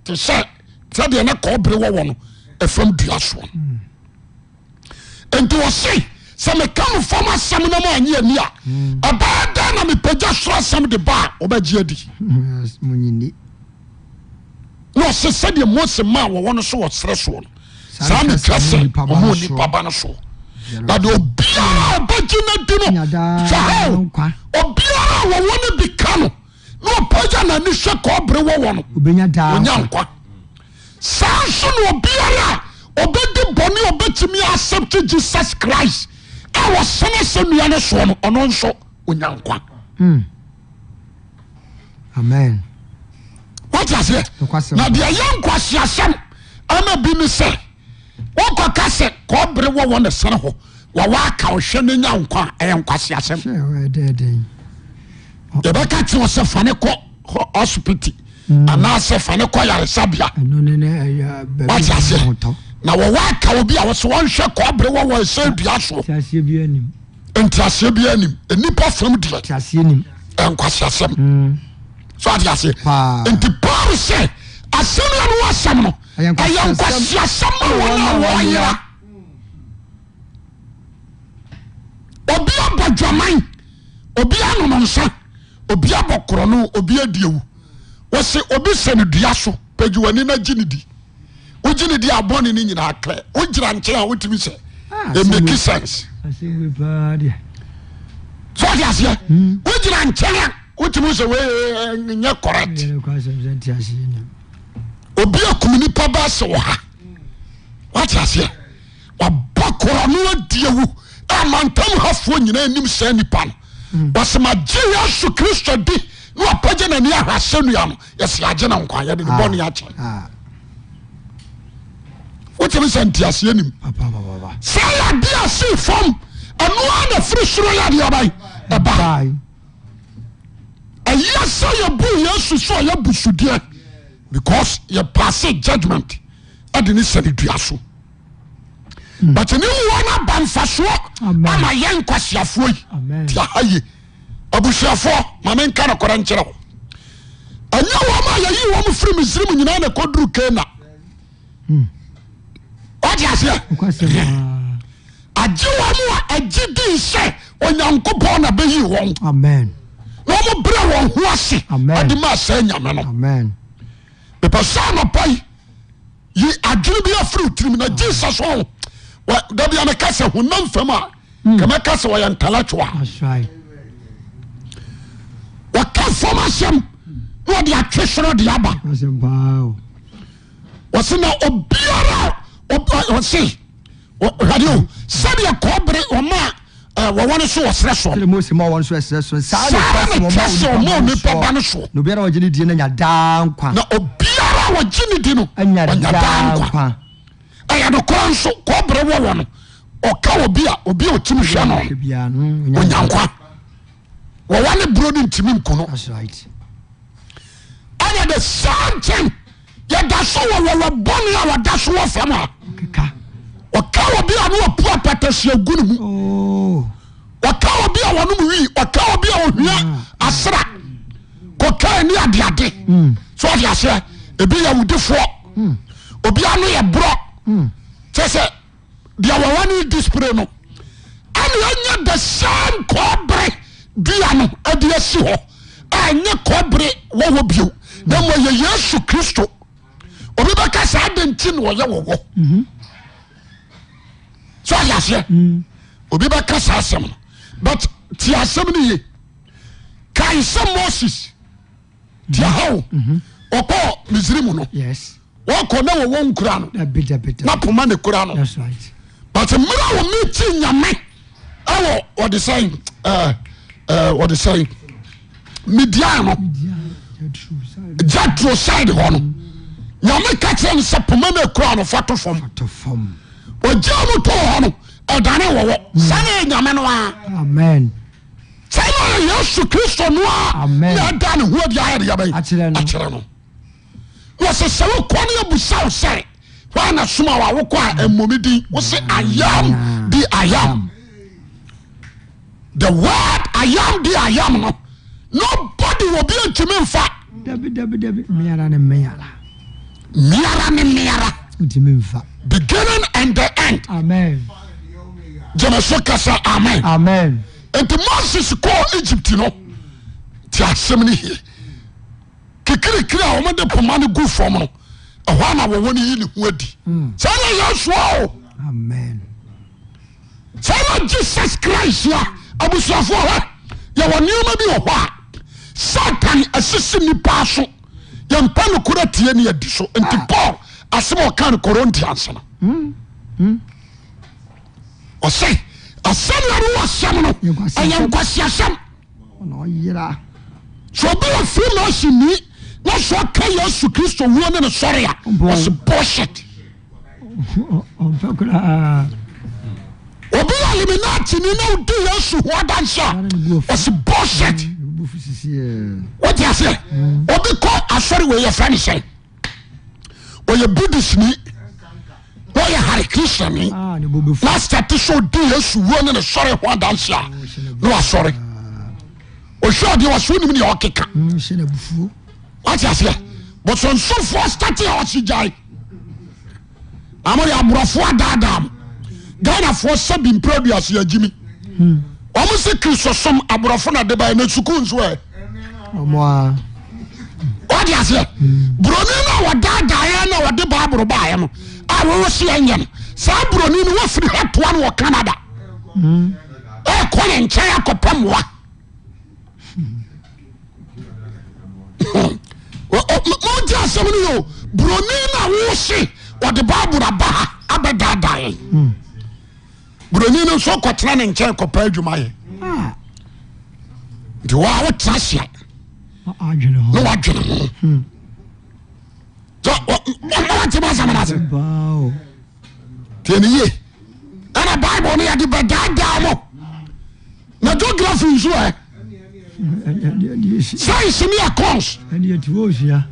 [SPEAKER 2] te sɛ sɛdeɛ ne kɔɔbere wɔwɔ no ɛfam dua soɔ enti wɔse sɛ meka mo fam asɛm no ma anye ani a ɛbɛɛ da na mepagya soro asɛm de ba a wɔbɛgye adi
[SPEAKER 1] yes monyini
[SPEAKER 2] na ɔse sɛdeɛ mose ma a wɔwɔ no so wɔserɛ soɔ no
[SPEAKER 1] Saa
[SPEAKER 2] saa ne
[SPEAKER 1] nka
[SPEAKER 2] twa
[SPEAKER 1] sɛ
[SPEAKER 2] sɛ
[SPEAKER 1] onipa ba
[SPEAKER 2] ɔma
[SPEAKER 1] no
[SPEAKER 2] onipa
[SPEAKER 1] soɔ.
[SPEAKER 2] ba no soɔ na deɛ obiara a ɔbɛgye no di no
[SPEAKER 1] Nya daa
[SPEAKER 2] hwɛ
[SPEAKER 1] no
[SPEAKER 2] hɔ
[SPEAKER 1] nkwa.
[SPEAKER 2] obiara a wɔwɔ no bi ka no na ɔpagya n'ani hwɛ kɔɔbere wɔwɔ no
[SPEAKER 1] obɛnya daa
[SPEAKER 2] ɔnya nkwa saa nso na obiara a ɔbɛdi bɔne a ɔbɛtumi accept jesus christ a wɔsɛne sɛ nnua no soɔ no ɔno
[SPEAKER 1] Mm.
[SPEAKER 2] nso ɔnya nkwa
[SPEAKER 1] amen
[SPEAKER 2] wate aseɛ
[SPEAKER 1] Nokwasɛm.
[SPEAKER 2] na deɛ yɛ nkwaseasɛm ama bi ne sɛ wonkɔka sɛ kɔbere wɔ wɔ ne sene hɔ wawaaka wohwɛ no nya nkwa a ɛyɛ nkwaseasɛm
[SPEAKER 1] hwɛ ɔyɛ dɛɛdɛn
[SPEAKER 2] yɛbɛka kye wɔ sɛ fane kɔ ho- hospital anaasɛ fane kɔ yaresabea
[SPEAKER 1] ɛno ne ne ɛyɛ
[SPEAKER 2] wate
[SPEAKER 1] hotɔ
[SPEAKER 2] aseɛ na wɔwaaka wo bi a wɔ so wɔnhwɛ kɔbere wɔ wɔ ɛsɛ dua soɔ
[SPEAKER 1] te aseɛ bi anim
[SPEAKER 2] ntiaseɛ bi anim nnipa fam deɛ
[SPEAKER 1] te aseɛ Mm. nim
[SPEAKER 2] ɛnkwaseasɛm so ade aseɛ
[SPEAKER 1] Paa.
[SPEAKER 2] nti paul sɛ asɛm a no wɔasɛm no
[SPEAKER 1] Ɛyɛ
[SPEAKER 2] ɛyɛ
[SPEAKER 1] nkwaseasɛm.
[SPEAKER 2] nkwaseasɛm ma wɔn a wɔyera obi abɔ dwaman obi anono nsa obi abɔ korɔno obi adi awu wɔse obi sɛ no dua so pagyi w'ani no gye ne di wogye ne di a bɔne no nyinaa krɛ wogyina nkyɛn a wotumi sɛ
[SPEAKER 1] Ah,
[SPEAKER 2] ɛmaki
[SPEAKER 1] asɛm-
[SPEAKER 2] sense
[SPEAKER 1] asɛm bi paa deɛ
[SPEAKER 2] sọọdi aseɛ
[SPEAKER 1] Hmm.
[SPEAKER 2] wogyina nkyɛn a wotumi sɛ wee nyɛ correct
[SPEAKER 1] ɛyɛ nokwasɛm sɛ te aseɛ nim
[SPEAKER 2] obi akum nipa ba se wɔ ha wate aseɛ wabɔ korɔno adiewu a mantam hafoɔ nyinaa anim saa nipa no wɔsemagye yesu kristo di ne wapagye n'ani ahwɛ asɛnnua no yɛse agye no nkwa yɛde ne bɔne akyɛ
[SPEAKER 1] Ah,
[SPEAKER 2] wotumi sɛ nteaseɛ nim
[SPEAKER 1] papa mababa
[SPEAKER 2] sɛ yɛde ase fam ɛnoa na firi soro yɛde abae ɛba
[SPEAKER 1] bye
[SPEAKER 2] ɛyɛ sɛ yɛbu yesu so a yɛbu sudeɛ because yɛpase judgment ɛde ne sɛne dua so but ne wɔ no aba mfasoɔ
[SPEAKER 1] Amen.
[SPEAKER 2] ama yɛ nkwaseafoɔ yi
[SPEAKER 1] Amen.
[SPEAKER 2] nti aha ye abusuafoɔ ma menka nokɔrɛ nkyerɛ wo ɛnyɛ wɔ ma yɛyi wɔ m firi misirim nyinaa na kɔduru kana ɔde aseɛ
[SPEAKER 1] nokwasɛm paa
[SPEAKER 2] agye wɔ m a agye dii sɛ onyankopɔn na bɛyi wɔn
[SPEAKER 1] amen
[SPEAKER 2] na ɔmo berɛ wɔn ho ase
[SPEAKER 1] Amen.
[SPEAKER 2] ade ma sɛ nyame no
[SPEAKER 1] amen
[SPEAKER 2] pepɛ sɛ anɔpa yi yi adwene bi afiri wo tirim na jesus ho Wɔ- da bia meka sɛ honam fam a kamɛka sɛ wɔyɛ ntalatwo a
[SPEAKER 1] asai
[SPEAKER 2] wɔka fam asɛm na wɔde atwe soro de aba
[SPEAKER 1] asɛm paa o
[SPEAKER 2] wɔse na obiara a ob- ɔ- ɔse wɔ- hwɛde o sɛdeɛ kɔbere ɔma a, ɛ, wɔwɔ no so wɔ serɛ soɔ
[SPEAKER 1] sɛde mose ma wɔn so ɛserɛ so saa
[SPEAKER 2] Saa ne kyɛ sɛ ɔma onipa ba no soɔ
[SPEAKER 1] na obiara wɔgye ne die no nya daa nkwa
[SPEAKER 2] na obiara a wɔgye ne di no
[SPEAKER 1] anya
[SPEAKER 2] ɔnya daa
[SPEAKER 1] daa
[SPEAKER 2] nkwa
[SPEAKER 1] nkwa
[SPEAKER 2] ɛyɛ nokorɔ nso kɔbere wɔwɔ no ɔka obi a obi a ɔtim hwɛ no
[SPEAKER 1] Hwɛ biara no ɔnya nkwa
[SPEAKER 2] onyankwa wɔwa ne buro no ntimi nku no
[SPEAKER 1] that's right
[SPEAKER 2] ɛyɛ de saa nkyɛn yɛda so wɔ wɔwɔ bɔne a wɔda so wɔ fam a
[SPEAKER 1] keka
[SPEAKER 2] ɔka obi a ne wɔpu apatasia gu ne mu
[SPEAKER 1] oo
[SPEAKER 2] ɔka obi a wɔnom wii ɔka obi a ɔhua asra kɔka ani adeade so ɔde aseɛ ebi yɛ wudifoɔ obia no yɛ borɔ kyɛ sɛ deɛ wɔwɔ ne dispire no ɛne ɛnyɛ the same kɔɔbere dua no ade asi hɔ a ɛnyɛ kɔɔbere wɔwɔ bio na mmɔ yɛ yesu kristo obi bɛka saa de nti na wɔyɛ wɔwɔ so ɔde aseɛ obi bɛka saa asɛm no but tie asɛm no ye kae sɛ moses tia haw ɔkɔ misiri no
[SPEAKER 1] yes
[SPEAKER 2] wɔkɔ na wɔwɔ nkura no
[SPEAKER 1] dabi dabi
[SPEAKER 2] na
[SPEAKER 1] dabi
[SPEAKER 2] poma ne kura no
[SPEAKER 1] that's right
[SPEAKER 2] but mmerɛ a wɔme kyi nyame ɛwɔ wɔde sɛn ɛɛ, ɛɛ, wɔde sɛn midian no
[SPEAKER 1] yeah yeah true sorry
[SPEAKER 2] jatro side hɔ no nyame ka kyerɛ no sɛ poma ne kura no fa to fam
[SPEAKER 1] to form
[SPEAKER 2] ɔgya mu tɔɔ hɔ no ɔdane wɔwɔ saa ne yɛ nyame no a
[SPEAKER 1] amen
[SPEAKER 2] sɛn na ɔyɛ yesu kristo no a
[SPEAKER 1] Amen.
[SPEAKER 2] na ɛda ne ho adi ayɛ de yɛbɛyi
[SPEAKER 1] Akyerɛ no.
[SPEAKER 2] akyerɛ no wɔsɛ sɛ wokɔ no yɛbusa wo sɛ woa na soma wɔ a wokɔ a ammɔme din wo se ayam de ayam the word ayam de ayam no nobody wɔ bi antumi mfa
[SPEAKER 1] dabi dabi dabi mmeara ne mmeara
[SPEAKER 2] mmeara ne mmeara
[SPEAKER 1] ntumi nfa
[SPEAKER 2] beginning and the end
[SPEAKER 1] amen
[SPEAKER 2] gyama so kasa amen
[SPEAKER 1] amen
[SPEAKER 2] nti moses kɔɔ egypt no te asɛm no hie kikirikiri a wɔmde poma no gu fam no ɛhɔ a na wɔwɔ no yi ne ho adi saa na yɛsoa o
[SPEAKER 1] amen
[SPEAKER 2] saa na jesus christ a abusuafoɔ hɔ yɛwɔ nneɛma bi wɔ hɔ a satan asisi nnipa so yɛmpa nokora tie ne yɛdi so nti paul asɛm a ɔka no korintians no ɔsɛ asɛm na no wɔsɛm no
[SPEAKER 1] Yɛ nkwaseasɛm. Oh,
[SPEAKER 2] ɛyɛ nkwaseasɛm
[SPEAKER 1] ɔna ɔyera
[SPEAKER 2] sɛ obi wɔ firi na ɔsi ni na so aka yesu kristo wuo ne ne sɔre a
[SPEAKER 1] Boy.
[SPEAKER 2] ɔse bullshit
[SPEAKER 1] Oh, ɔmfa koraa
[SPEAKER 2] obi yɛ eliminati ni na odi yesu ho adanse
[SPEAKER 1] Yare ne bu
[SPEAKER 2] a ɔse bullshit
[SPEAKER 1] bu fi sisiɛ
[SPEAKER 2] wote aseɛ obi kɔ asɔre wɔ yɛfrɛ ne sɛ ɔyɛ buddhistni na ɔyɛ hare kristiani
[SPEAKER 1] a ne ah, bobe fu
[SPEAKER 2] na sɛte sɛ odi yesu wuo ne ne sɔre ho adanse a na wasɔre ɔhwɛ ɔdeɛ wɔse wonim ne ɔkeka
[SPEAKER 1] hyɛ no abufuo
[SPEAKER 2] wati aseɛ bosonsomfoɔ stati a ɔsi gyae amode aborɔfoɔ adaadaam ghanafoɔ sɛ bi mpra duase agyimi ɔmo se kristosom aborɔfo na de baɛ na sukuu nso ɛ
[SPEAKER 1] ɔmo a
[SPEAKER 2] wade aseɛ buroni no a wɔdaadaeɛ na wɔde ba aboro baeɛ no a wɔwɔ seɛ nyɛ no saa buroni no wɔfiri hɔ toa no wɔ canada
[SPEAKER 1] hmm,
[SPEAKER 2] ɛɛkɔ ne nkyɛn akɔpɛ mmoa Hmm. mogye asɛm no yo buroni no a wose wɔde baaboro aba ha abɛdaadaeɛ buroni no nso kɔtena ne nkyɛn kɔpɛ adwumayɛ
[SPEAKER 1] a
[SPEAKER 2] nti wo a wotena hyea
[SPEAKER 1] adwene
[SPEAKER 2] na
[SPEAKER 1] ho
[SPEAKER 2] wadwene ho mawatemi asɛm no ase
[SPEAKER 1] bao
[SPEAKER 2] tiɛneye ɛna bible no yɛde bɛdaadaa mo na geography nso ɛ
[SPEAKER 1] ɛne
[SPEAKER 2] science ne yɛ cons
[SPEAKER 1] ati wɔsua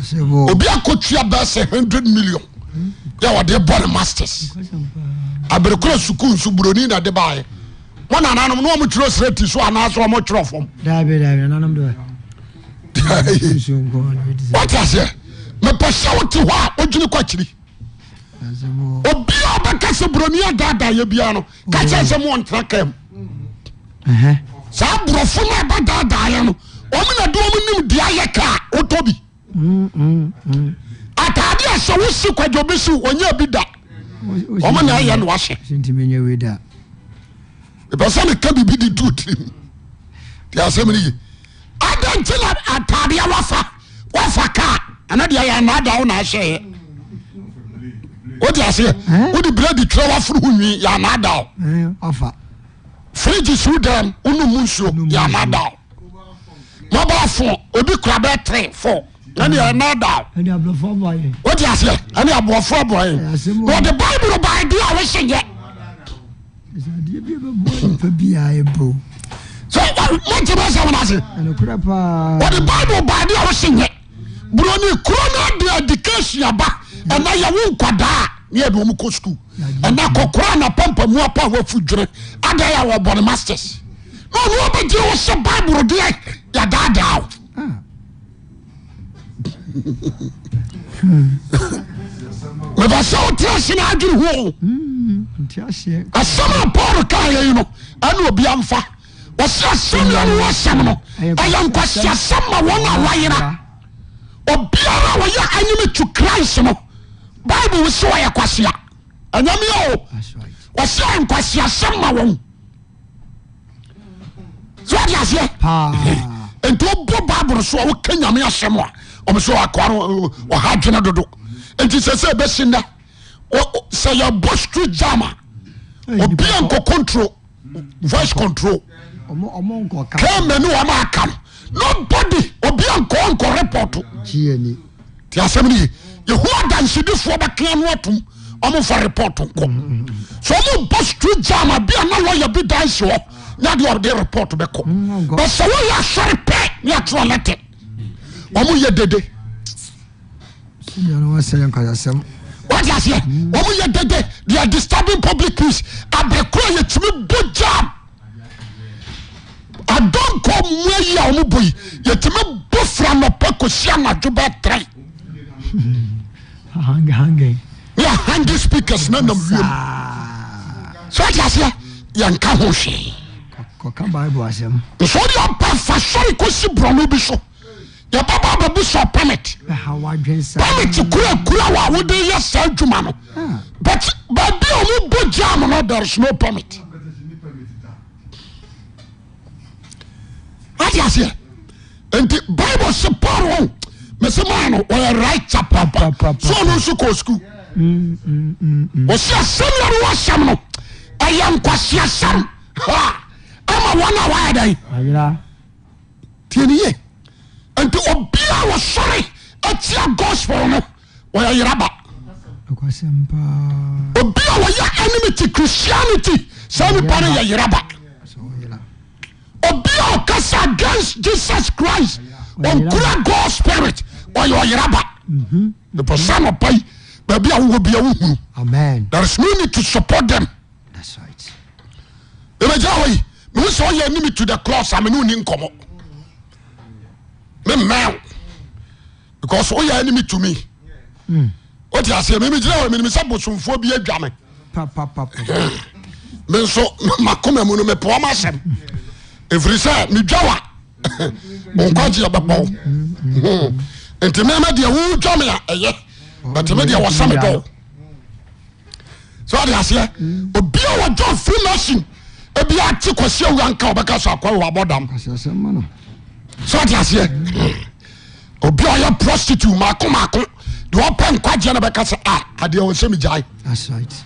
[SPEAKER 1] sɛ bɔ
[SPEAKER 2] obi akɔtua bɛɛ sɛ 100 million yɛ wɔde bɔ ne masters abere kora sukuu nso buroni na de baɛ mo nananom ne ɔmo twerɛ srɛti so anaasɛ ɔmo twerɛ fam
[SPEAKER 1] daabi daabi nanom de nsuo nkɔ ne bɛti sɛ
[SPEAKER 2] wote aseɛ mepɛ sɛ wote hɔ a wodwene kɔ akyiri
[SPEAKER 1] asɛ bɔ
[SPEAKER 2] obia ɔbɛka sɛ buroni adaadaeɛ biara no ka kyerɛ sɛ moɔntena kam
[SPEAKER 1] ɛhɛ
[SPEAKER 2] saa borɔfo no ɛbɛdaadaeɛ no ɔme na de ɔm nim dea yɛ ka a wotɔ bi
[SPEAKER 1] Hmm,
[SPEAKER 2] atade a sɛ wosi kwadwo bɛsi ɔnya bi da ɔmo na ɛyɛ no wahyɛ
[SPEAKER 1] sentimi nyɛ wei da
[SPEAKER 2] ɛpɛ sɛ meka biribi de too tirim nti asɛm no ye adɛ nti na atadeɛ wafa wafa ka a, ɛna deɛ yɛ naada wo naahyɛeɛ wode aseɛ
[SPEAKER 1] Eh?
[SPEAKER 2] wode brɛdi twerɛ waforo ho nwi yɛ anaada wo
[SPEAKER 1] Ɛɛ, ɔfa
[SPEAKER 2] fridge so dɛm wonom mu nsuo
[SPEAKER 1] Wonom mu
[SPEAKER 2] yɛ
[SPEAKER 1] nsuo.
[SPEAKER 2] anaada wo mobile phone obi kura bɛɛ tre fo ɛne yɛ anaada wo
[SPEAKER 1] ɛne abrɔfo bayɛ
[SPEAKER 2] wọ́n ti ase ẹni abuọ̀fọ́ abuọ̀yẹ
[SPEAKER 1] asɛm wɔ.
[SPEAKER 2] wọ́n di báyìbùrù báyìí di àwọn ṣe yẹ
[SPEAKER 1] sɛ adeɛ bi bɛboa nipa biaa ɛbro
[SPEAKER 2] so uh, wọ́n ti bá sẹ́wọ́n ase
[SPEAKER 1] ɛnokorɛ
[SPEAKER 2] wọ́n di
[SPEAKER 1] paa
[SPEAKER 2] báyìbùrù báyìí di àwọn ṣe yẹ buroni kuro náà di ẹdikẹ́sì aba ẹ̀nà yẹwò nkwadaa ní ẹ̀dùn ọmọ kó sukuu ẹ̀nà kọ̀kọ́rọ́ àná pampa mu apá àwọn afu dwere adá yà wọ bọ̀nì masters náà ni wọ́n bẹ jẹ́ wọ́n sẹ́ báyìbùrù díẹ̀ yà dáadáa o
[SPEAKER 1] Ah,
[SPEAKER 2] mẹfà sẹ́wọ́n tí a sin adúrú wọ́n.
[SPEAKER 1] mm, nti aseɛ
[SPEAKER 2] asɛm a paul kaa yɛyi no ɛne obi amfa wɔse asɛm yɛ no wɔsɛm no ɛyɛ nkwasi asɛm ma wɔn a wɔayera obiara a wɔyɛ anyeme to christ no bible wo se wɔyɛ kwasea ɛnyamea o
[SPEAKER 1] That's right.
[SPEAKER 2] wɔse ɛyɛ nkwasi asɛm ma wɔn so wode aseɛ
[SPEAKER 1] paa
[SPEAKER 2] enti wobɔ bible so a woka nyame asɛm a ɔme so wakoa no ɔha dwene dodo enti sɛ sɛ ɛbɛsi nda wɔ- wɔ- sɛ yɛbɔ street jam a
[SPEAKER 1] Ɛyɛ
[SPEAKER 2] obi
[SPEAKER 1] nipa-
[SPEAKER 2] a nkɔ control voice control
[SPEAKER 1] ɔmo ɔmo nkɔka
[SPEAKER 2] kɛmɛ ni wɔn aka no nobody obi a nkɔ nkɔ report
[SPEAKER 1] kyiani
[SPEAKER 2] ti asɛm ni ye yehu adansidifoɔ bɛ kɛn no atum ɔmo fa report nkɔ so ɔmo bɔ street jam a bi a na lɔya bi dansi hɔ na de ɔde report bɛ kɔ
[SPEAKER 1] Mm, ɔnkɔ.
[SPEAKER 2] bɛsɛ wɔyɛ asɔre pɛ ne atwerɛ lɛtɛ ɔmo yɛ dede
[SPEAKER 1] sɛdeɛ no wasɛyɛ nkwasasɛm
[SPEAKER 2] wɔde aseɛ ɔmo yɛ dede they are disturbing public peace abɛkura yɛ tumi bɔ jam adɔnkɔ mua yi a ɔmo bɔ yi yɛ tumi bɔ fira nɔpɛ kò si anadwo bɛ tẹrɛ
[SPEAKER 1] hangahangai
[SPEAKER 2] ne yɛ hangi speakers ne nam wiem
[SPEAKER 1] saa
[SPEAKER 2] so wɔde aseɛ yɛn nka ho hwee
[SPEAKER 1] kɔka bible asɛm
[SPEAKER 2] nso wɔde ɔpa fa sɔre kò si buroni bi so yɛ bɛ bɔ abɛbu sɔ permit
[SPEAKER 1] bɛha wadwen saa
[SPEAKER 2] permit kura kura wɔ a wɔde yɛ saa adwuma no
[SPEAKER 1] Ah,
[SPEAKER 2] but baabi a ɔmo bɔ jam no there is no permit. ati aseɛ nti bible se paul wɔn mesemaa no wɔyɛ right chapter
[SPEAKER 1] Pa, pa,
[SPEAKER 2] papa
[SPEAKER 1] pa,
[SPEAKER 2] so ɔno nso kɔ sukuu
[SPEAKER 1] Mm,
[SPEAKER 2] ɔsi asɛm na no wɔasɛm no ɛyɛ nkwasi asɛm ha ama wɔn a wɔayɛ dɛn
[SPEAKER 1] ayera
[SPEAKER 2] tie ne ye nti obia wɔsɔre atia gospel no wɔyɛ yeraba
[SPEAKER 1] nokwasɛm paa
[SPEAKER 2] obi a wɔyɛ enmity christianity saa nipa no yɛ yeraba
[SPEAKER 1] sɛ woyera
[SPEAKER 2] obi a ɔkasa against jesus christ ɔnkura god spirit ɔyɛ ɔyeraba nipa sa nɔpa yi baabi a wowɔ bia wohunu
[SPEAKER 1] amen
[SPEAKER 2] there is no need to support them
[SPEAKER 1] that's right
[SPEAKER 2] ebegya hɔ yi mehu sɛ ɔyɛ anim to the cross a mene woni nkɔmmɔ memmɛw because woyɛ anim to me wote aseɛ memegyina hɔ menim sɛ bosomfoɔ bi adwa me
[SPEAKER 1] papapapa
[SPEAKER 2] me nso makoma mu no mepɛ ɔma asɛm ɛfiri sɛ medwa wa bonkwagye yɛbɛpɔw Hmm. nti mema deɛ wodwa me a ɛyɛ but me deɛ wɔsa me dɔw so ade aseɛ obia wɔdwa firi machine ebia ate kwasi awura nka wɔbɛka so akɔ wɔ abɔdam
[SPEAKER 1] asɛsɛm ma no
[SPEAKER 2] so ade aseɛ hmm, obi a ɔyɛ prostitute maako maako deɛ ɔpɛ nkwagyeɛ no bɛka sɛ a adeɛ wɔ sɛ megyae
[SPEAKER 1] that's right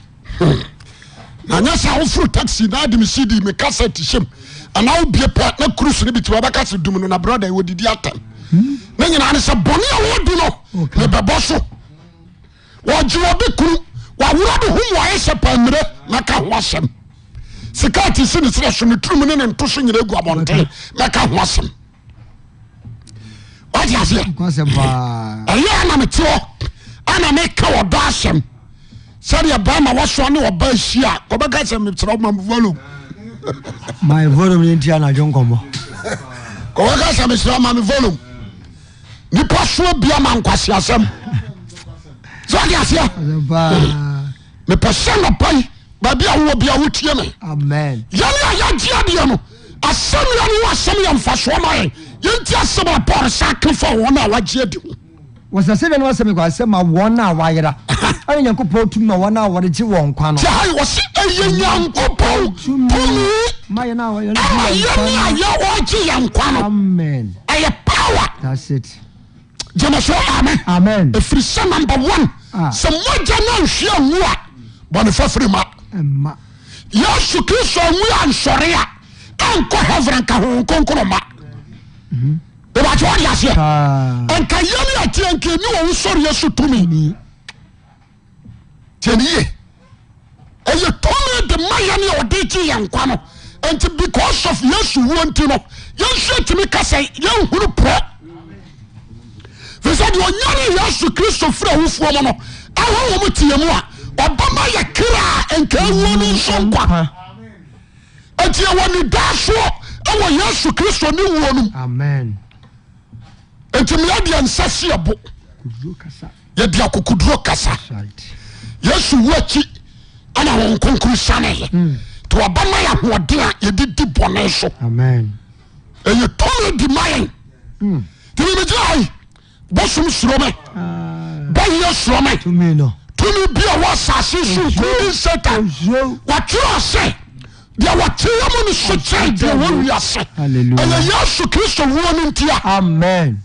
[SPEAKER 2] nanyɛ sɛ woforo taxi na adem cd me cassette hyɛm anaa wobie pɛ na cruise no bi tiwa wobɛka se dum no na brother wɔdidi atam ne nyinaa ne sɛ bɔne a wɔdu no ne bɛbɔ so wɔgye wɔ de kuru wɔawora de ho mwaɛ sɛ pa mmerɛ na ka ho asɛm sika a te si ne serɛ so ne turum ne ne nto so nyina agu abɔnten na ka ho asɛm wate aseɛ
[SPEAKER 1] nokwasɛm paa
[SPEAKER 2] ɛyɛ ana mete hɔ ana meka wɔdɔ asɛm sɛdeɛ baa ma wɔsoa ne wɔba ahyi a wɔbɛka sɛ meserɛ woma mvalo
[SPEAKER 1] my volume no ntia anadwo nkɔmmɔ
[SPEAKER 2] wɔbɛka sɛ meserɛ woma me volom nipa soa bia ma nkwaseasɛm sɛ ɔde aseɛ
[SPEAKER 1] asɛm paa
[SPEAKER 2] mepɛ sɛ nɔpa yi baabi a wowɔ bia wotie me
[SPEAKER 1] amen
[SPEAKER 2] yɛne a yɛgye adeɛ no asɛm yɛ no wɔ asɛm yɛ mfasoɔ ma yɛ yɛnti asɛm a paul sa ka fa wɔn a wagye adi ho
[SPEAKER 1] wɔsɛsɛbia no wasɛm kɔ asɛm a wɔn a wayera ɛne nyankopɔn tumi ma wɔn a wɔde gye wɔn nkwa no
[SPEAKER 2] sɛ hai wɔ se ɛyɛ nyankopɔn tumi
[SPEAKER 1] ma yɛ no a wɔyɛ no
[SPEAKER 2] ama
[SPEAKER 1] gye wɔn
[SPEAKER 2] yɛne
[SPEAKER 1] nkwa
[SPEAKER 2] Ah, a yɛwɔgye yɛ nkwa
[SPEAKER 1] no
[SPEAKER 2] no
[SPEAKER 1] amen
[SPEAKER 2] ɛyɛ power
[SPEAKER 1] that's it
[SPEAKER 2] gyama so ame
[SPEAKER 1] amen
[SPEAKER 2] ɛfiri sɛ number one
[SPEAKER 1] Ah.
[SPEAKER 2] sɛ mogya no anhwe anwu a bɔne fafiri ma
[SPEAKER 1] ɛma
[SPEAKER 2] yesu kristo anwu a ansɔre a ankɔ heaven nka hohom kronkro ma ɛbɛkye wode
[SPEAKER 1] Ah.
[SPEAKER 2] aseɛ
[SPEAKER 1] paa
[SPEAKER 2] anka yɛne atie nke ne wɔ wo sɔreɛ so tumi tianiye ɛyɛ tumi de ma yɛne a ɔde gye yɛ nkwa no ɛnti because of yesu wuo nti no yɛnso atumi ka sɛ yɛnhunu porɔ firi sɛ deɛ ɔnya ne yesu kristo firi awofoɔ mu no ahohɔ mu teɛ mu a ɔbɛma yɛ kra a nka awuo no nso nkwa
[SPEAKER 1] Ah.
[SPEAKER 2] ɛnti ɛwɔ ne daa soɔ ɛwɔ yesu kristo ne wuo no mu
[SPEAKER 1] amen
[SPEAKER 2] ɛnti meadeɛ nsa hyeɛ bo
[SPEAKER 1] Kuduro kasa
[SPEAKER 2] yɛde akokoduro kasa
[SPEAKER 1] right
[SPEAKER 2] yesu wu akyi ana wɔn nkonkuru saneɛ nti wɔbɛma yɛ ahoɔden a yɛde di bɔne so
[SPEAKER 1] amen
[SPEAKER 2] ɛyɛ tɔme di ma yɛn
[SPEAKER 1] Hmm.
[SPEAKER 2] nti memegyina ha yi bosom suro me
[SPEAKER 1] Ah,
[SPEAKER 2] bɛyɛ suro me
[SPEAKER 1] tumi no
[SPEAKER 2] tumi bi a wɔ asase so nkodi satan
[SPEAKER 1] ɔsuro
[SPEAKER 2] wɔtwerɛ ɔse deɛ wɔkyerɛ mu no so kyerɛ deɛ wɔwi ase
[SPEAKER 1] Hallelujah.
[SPEAKER 2] ɛyɛ yesu kristo wuo no nti a
[SPEAKER 1] amen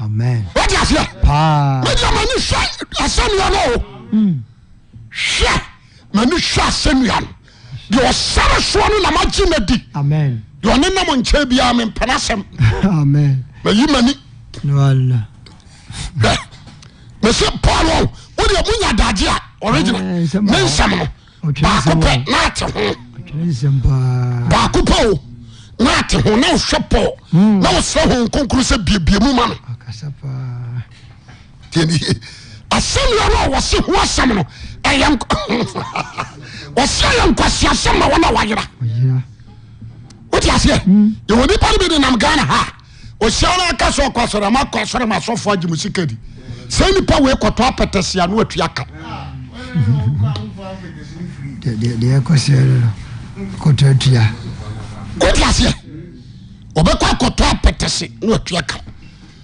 [SPEAKER 1] amen
[SPEAKER 2] wode aseɛ
[SPEAKER 1] paa
[SPEAKER 2] media mani hwɛ asɛnnua no o hwɛ mani hwɛ asɛnnua no deɛ ɔsare soɔ no na magye no di
[SPEAKER 1] amen
[SPEAKER 2] deɛ ɔne nam nkyɛn biara mempɛ no asɛm
[SPEAKER 1] amen
[SPEAKER 2] mayi m'ani
[SPEAKER 1] wala
[SPEAKER 2] hwɛ mɛsɛ paul o wodeɛ monya adagye a
[SPEAKER 1] Eh,
[SPEAKER 2] ɔregyina
[SPEAKER 1] nsɛm
[SPEAKER 2] ne
[SPEAKER 1] baako.
[SPEAKER 2] nsɛm no
[SPEAKER 1] Ɔtwerɛ
[SPEAKER 2] baako
[SPEAKER 1] nsɛm
[SPEAKER 2] pɛ
[SPEAKER 1] wɔ.
[SPEAKER 2] na ate ho
[SPEAKER 1] ɔtwerɛ nsɛm paa
[SPEAKER 2] baako pɛ o na ate ho na ɔhwɛ paul na ɔsrɛ ho nkonkoro sɛ biebiemu ma no
[SPEAKER 1] akasa paa
[SPEAKER 2] tiɛni asɛnnua no a wɔse ho asɛm no ɛyɛ nk- wɔse ɛyɛ nkwaseasɛm ma wɔn a wɔayera
[SPEAKER 1] ɔyera
[SPEAKER 2] wote aseɛ yɛwɔ nipa no bi de nam ghana ha ɔhyia no aka sɛ ɔkɔsɔre ma kɔsɔre ma asɔfoɔ agye mu sika di saa nipa wei kɔtɔ apɛtɛsia no atua ka
[SPEAKER 1] deɛ- deɛ deɛ ɛkɔ sɛ no no kɔtɔ atua
[SPEAKER 2] wote aseɛ ɔbɛkɔ akɔtɔ apɛtɛse na atua ka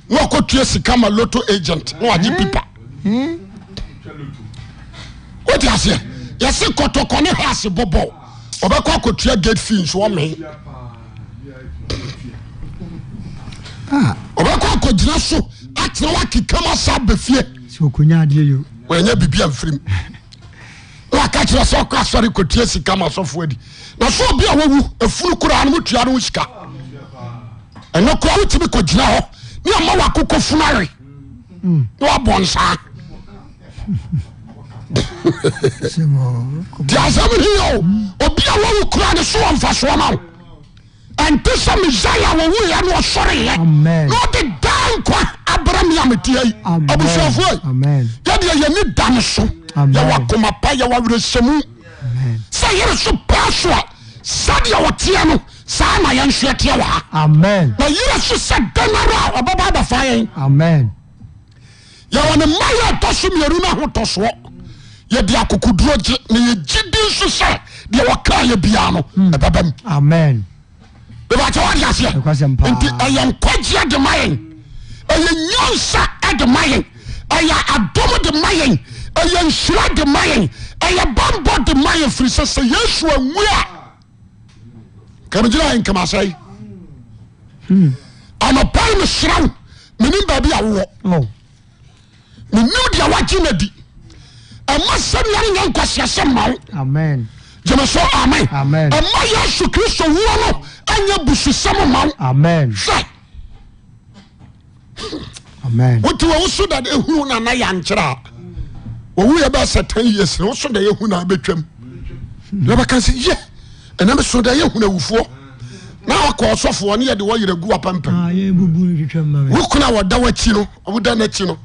[SPEAKER 2] na ɔkɔtua sika ma loto agent na wagye pipa
[SPEAKER 1] Hmm?
[SPEAKER 2] wote aseɛ yɛse kɔtɔkɔne hɔ ase bɔbɔ ɔbɛkɔ akɔtua gate fee nso ɔmee
[SPEAKER 1] Ah,
[SPEAKER 2] ɔbɛkɔ akɔgyina so atena wakekama sa bɛfie
[SPEAKER 1] sɛ ɔkɔnya adeɛ yo
[SPEAKER 2] wɔanya biribia mfirim na waka kyerɛ sɛ ɔkɔ asɔre kɔtua sika ma asɔfoɔ adi na so obi a wawu afunu koraa no motua no wo sika ɛno koa wotumi kɔgyina hɔ ne ama wakokɔ funu awe ne wabɔ nsaa
[SPEAKER 1] sɛ mo-
[SPEAKER 2] nti asɛm ne yɛ o obi a wɔwo kura ne so wɔ mfasoɔ ma wo ɛnte sɛ mesaia wɔwuiɛ ne ɔsɔreyɛ
[SPEAKER 1] Amen.
[SPEAKER 2] na ɔde daa nkwa abrɛ me ametiai
[SPEAKER 1] Amen.
[SPEAKER 2] abusuafoɔ
[SPEAKER 1] Amen.
[SPEAKER 2] yɛdeɛ yɛni da ne so
[SPEAKER 1] Amen.
[SPEAKER 2] yɛwɔ akoma pa yɛwɔ awerɛsɛmu
[SPEAKER 1] Amen.
[SPEAKER 2] sɛ yere so paa so a sɛdeɛ wɔteɛ no saa na yɛnso yɛteɛ wɔ ha
[SPEAKER 1] amen
[SPEAKER 2] na yere so sɛ danara a ɔbɛba abɛfa yɛn
[SPEAKER 1] amen
[SPEAKER 2] yɛwɔ ne mma yɛ ɛtɔ so mmienu no ahotɔsoɔ yɛde akokoduro gye na yɛgye di nso sɛ deɛ wɔkaa yɛ biara no ɛbɛba mu
[SPEAKER 1] amen
[SPEAKER 2] bɛbɛkyɛ wode aseɛ
[SPEAKER 1] Nokwasɛm paa.
[SPEAKER 2] nti ɛyɛ nkwagyeɛ de ma yɛn ɛyɛ nyansa de ma yɛn ɛyɛ adom de ma yɛn ɛyɛ nhyira de ma yɛn ɛyɛ bambɔ de ma yɛn firi sɛ sɛ yesu awu a kamegyina yɛ nkamasɛe anɔpɛi no hyera wo menim baabi a wowɔ
[SPEAKER 1] oh
[SPEAKER 2] menim deɛ wagye no di ɛma sɛmea no nyɛ nkɔseɛsɛ ma wo
[SPEAKER 1] amen
[SPEAKER 2] gyeme so amen
[SPEAKER 1] Amen.
[SPEAKER 2] ɛma yesu kristo wuo no anyɛ bususɛm ma wo
[SPEAKER 1] amen
[SPEAKER 2] hwɛ
[SPEAKER 1] amen
[SPEAKER 2] wote wɔ wo so da de ɛhunu no ana yɛankyerɛ a wɔwuyɛ bɛ sɛ 10 years na wo so da yɛhu no a bɛtwam na bɛka sɛ yɛ ɛnam so da yɛhunu awufoɔ na wakɔ ɔsɔfoɔ ne yɛde wɔyerɛ gu apampam
[SPEAKER 1] yɛ bubu no twitwa ma me
[SPEAKER 2] wo kuna a wɔda w'akyi no woda n'akyi no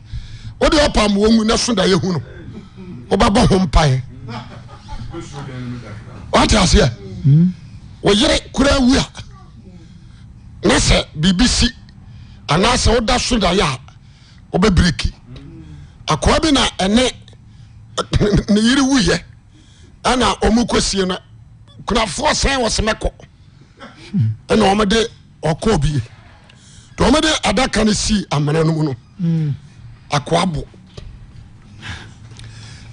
[SPEAKER 2] wode ɔpam wɔngu na so da yɛhu no wobɛbɔ ho mpae wate aseɛ woyere kora wu a na sɛ biribi si anaasɛ woda so da yɛ a wobɛbireki akoa bi na ɛne ne yere wuyɛ ɛna ɔmo kɔsie no kunafoɔ sɛn wɔ semɛkɔ ɛna ɔmode ɔkɔɔ bie nti ɔmode adaka no sii amena no mu no akoa bo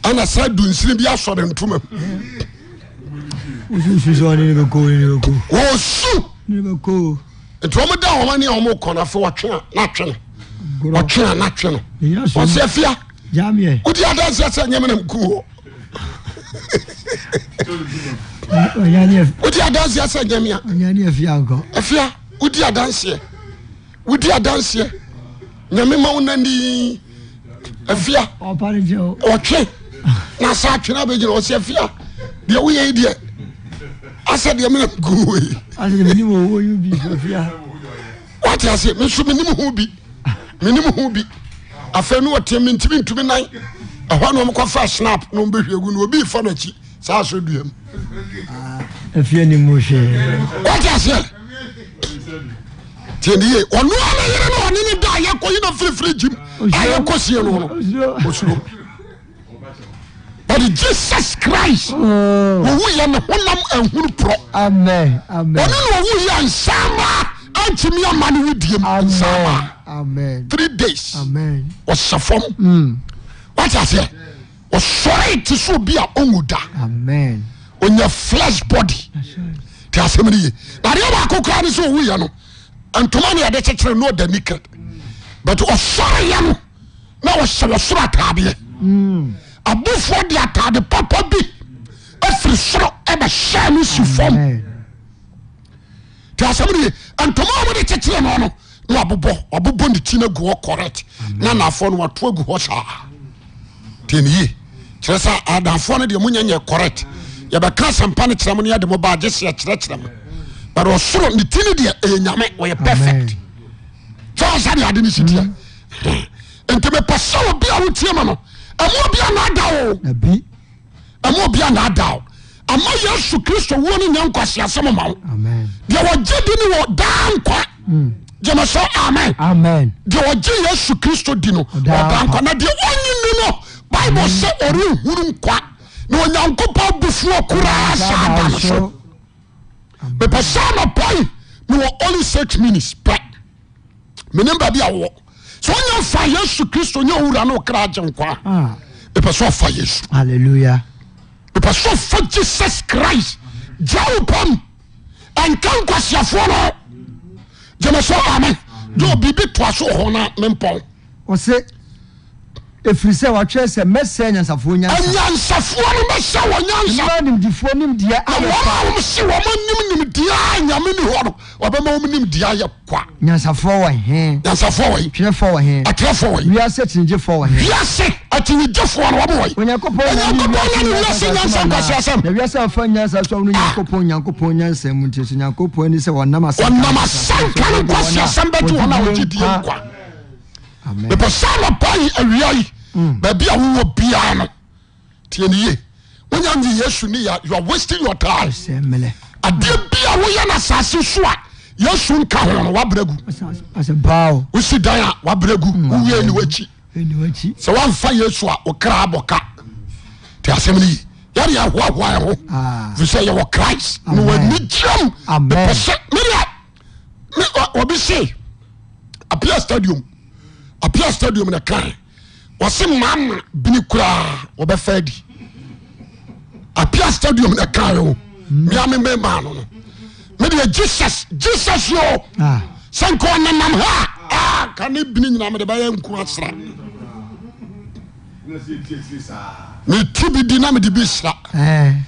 [SPEAKER 2] ana saa dunsini bi asɔre ntoma mu
[SPEAKER 1] wosusu sɛ ɔne ne bɛkɔ ne bɛkɔ
[SPEAKER 2] wɔsu
[SPEAKER 1] ne bɛkɔ
[SPEAKER 2] nti ɔmode ɔma ne a ɔmokɔ no afe wɔtwena na atwe no
[SPEAKER 1] gorɔ
[SPEAKER 2] ɔtwena na atwe no
[SPEAKER 1] ɛnyina so
[SPEAKER 2] ɔsɛ fia
[SPEAKER 1] jameɛ
[SPEAKER 2] wode adanseɛ sɛ nyɛmena mku hɔ
[SPEAKER 1] ɔnyaneɛ
[SPEAKER 2] wode adanseɛ sɛ nyɛme a
[SPEAKER 1] fie ankɔ
[SPEAKER 2] afia wodi adanseɛ wodi adanseɛ nyame ma wo nani afia
[SPEAKER 1] ɔpa ne kyɛ o
[SPEAKER 2] ɔtwe na sa atwe no abɛgyina ɔsɛ afia deɛ woyɛ yi deɛ asɛ deɛ mena mku hɔ yi
[SPEAKER 1] asɛ menim ɔwɔ yi bi fafia
[SPEAKER 2] wate ase meso menim ho bi menim ho bi afei ne wɔte mentimi ntumi nan ɛhɔ ne ɔmkɔfa snap na ɔmbɛhwie gu no obi fa no akyi saa so duam
[SPEAKER 1] afia ne mu hwee
[SPEAKER 2] wate aseɛ tiɛne ye ɔno a ne yere no ɔne ne da yɛkɔ yi na firifiri gyim ayɛkɔ sie no no
[SPEAKER 1] Osuro.
[SPEAKER 2] osuro but jesus christ
[SPEAKER 1] Oh,
[SPEAKER 2] wɔwuyɛ ne e honam ahunu porɔ
[SPEAKER 1] amen amen
[SPEAKER 2] ɔno ne ɔwuyɛ nsamaa ankyimi ama ne wo diem
[SPEAKER 1] amen
[SPEAKER 2] nsamaa
[SPEAKER 1] amen
[SPEAKER 2] three days
[SPEAKER 1] amen Mm.
[SPEAKER 2] ɔhyɛ fam wate aseɛ ɔsɔre te so bi a ɔwu da
[SPEAKER 1] amen
[SPEAKER 2] ɔnya flesh body te asɛm no ye nadeɛ baako koraa ne sɛ ɔwuyɛ no ntoma no yɛde kyekyere no ɔda naked but ɔsɔreyɛ no na ɔhyɛ wɔsoro ataadeɛ
[SPEAKER 1] Hmm.
[SPEAKER 2] abofoɔ de atade papa bi afiri soro ɛbɛhyɛɛ no si fam
[SPEAKER 1] amen
[SPEAKER 2] te asɛm no ye ntoma a mode kyekyere no no na wabobɔ wabobɔ ne ti no agu hɔ correct na naafoɔ no wato agu hɔ saa tɛniye kyerɛ sɛ adamfoɔ no deɛ monyɛnyɛ correct yɛbɛka asɛmpa no kyerɛ m no yɛde mo baagye seɛ kyerɛkyerɛ m but ɔsoro ne ti no deɛ ɛyɛ nyame wɔyɛ
[SPEAKER 1] amen
[SPEAKER 2] perfect sɛ ɔsade ade no sitiɛ nti mepɛ sɛ obi a wotie ma no ɛma obi anaada o
[SPEAKER 1] na bi
[SPEAKER 2] ɛma obi anaada o ama yesu kristo wuo no nya nkwaseasɛm ma wo
[SPEAKER 1] amen
[SPEAKER 2] deɛ wɔgye di no wɔ daa nkwa gyeme sɛ amen
[SPEAKER 1] amen
[SPEAKER 2] deɛ wɔgye yesu kristo di no
[SPEAKER 1] Ɔdaa
[SPEAKER 2] ɔda nkwa
[SPEAKER 1] nkwa.
[SPEAKER 2] na deɛ ɔnye ni no bible sɛ ɔrenhuru nkwa na onyankopɔn bufuo koraa saa da no so mepɛ sɛ anɔpɔi mewɔ only six minutes pɛ menim baabi a wowɔ sɛ wonya fa yesu kristo nyɛ owura ne wokra agye nkwa a,
[SPEAKER 1] ah
[SPEAKER 2] mepɛ sɛ ɔfa yesu
[SPEAKER 1] hallelujah
[SPEAKER 2] mepɛ sɛ ɔfa jesus christ gya wo pam ɛnka nkwaseafoɔ no gyeme sɛ amen deɛ biribi toa so wɔ hɔ no a mempɔn
[SPEAKER 1] ɔse ɛfiri sɛ wɔatwerɛ sɛ mɛsɛe nyansafoɔ nyansa
[SPEAKER 2] anyansafoɔ no bɛsɛ wɔ nyansa
[SPEAKER 1] ma nimdifoɔ nimdeɛ
[SPEAKER 2] na
[SPEAKER 1] ayɛ
[SPEAKER 2] wɔn a wɔn si wɔn anim nimdeɛ a nyame ni hɔ no wɔbɛma wɔn nimdeɛ ayɛ kwa
[SPEAKER 1] nyansafoɔ wɔ he
[SPEAKER 2] nyansafoɔ wɔ yi
[SPEAKER 1] twerɛfoɔ wɔ he
[SPEAKER 2] atwerɛfoɔ wɔ yi
[SPEAKER 1] wiase tinyegyefoɔ wɔ he
[SPEAKER 2] wiase atinigyefoɔ no wɔbɛ wɔ yi
[SPEAKER 1] onyankopɔn na ne
[SPEAKER 2] Onyankopɔn na ne
[SPEAKER 1] wiase
[SPEAKER 2] wiase
[SPEAKER 1] nyansa nkwasi
[SPEAKER 2] nyansa nkwaseasɛm.
[SPEAKER 1] asɛm. na wiase afa nyansa so a ɔno
[SPEAKER 2] Ah.
[SPEAKER 1] nyankopɔn nyankopɔn nyansa mu nti so nyankopɔn ani sɛ wɔnam asɛnka
[SPEAKER 2] wɔnam
[SPEAKER 1] no
[SPEAKER 2] asanka
[SPEAKER 1] so
[SPEAKER 2] no
[SPEAKER 1] wɔde wɔn
[SPEAKER 2] nkwasi
[SPEAKER 1] a
[SPEAKER 2] asɛm bɛtu wɔn a wɔgye die
[SPEAKER 1] nkwa.
[SPEAKER 2] nkwa
[SPEAKER 1] Amen.
[SPEAKER 2] mepɛ sɛ anɔpa yi awia yi baabi a wowɔ biara no tianiye wonya nye yesu ne ya you are wasting your time
[SPEAKER 1] sɛ mmelɛ
[SPEAKER 2] adeɛ bi a woyɛ no asase so a yesu nka ho no wabrɛ gu
[SPEAKER 1] asɛ bao
[SPEAKER 2] wosi dan a wabrɛ gu wowie ne wakyi
[SPEAKER 1] ɛni wakyi
[SPEAKER 2] sɛ woamfa yesu a wo kra abɔ ka nti asɛm no yi yɛde yɛhoahoa yɛ ho
[SPEAKER 1] Ah.
[SPEAKER 2] firi sɛ yɛwɔ christ na
[SPEAKER 1] Amen.
[SPEAKER 2] w'ani gyam
[SPEAKER 1] Amen.
[SPEAKER 2] mepɛ sɛ medeɛ me ɔ- obi se apia stadium apia stadium ne kae wɔse maama bini koraa wɔbɛfa adi apia stadium ne kae o mea me memaa no no medeɛ jesus jesus yo
[SPEAKER 1] Ah.
[SPEAKER 2] sɛ nka ɔnenam ha a, ah, ka ne bini nyina mede bɛyɛ nku asra meti bi di na mede bi sra
[SPEAKER 1] ɛɛ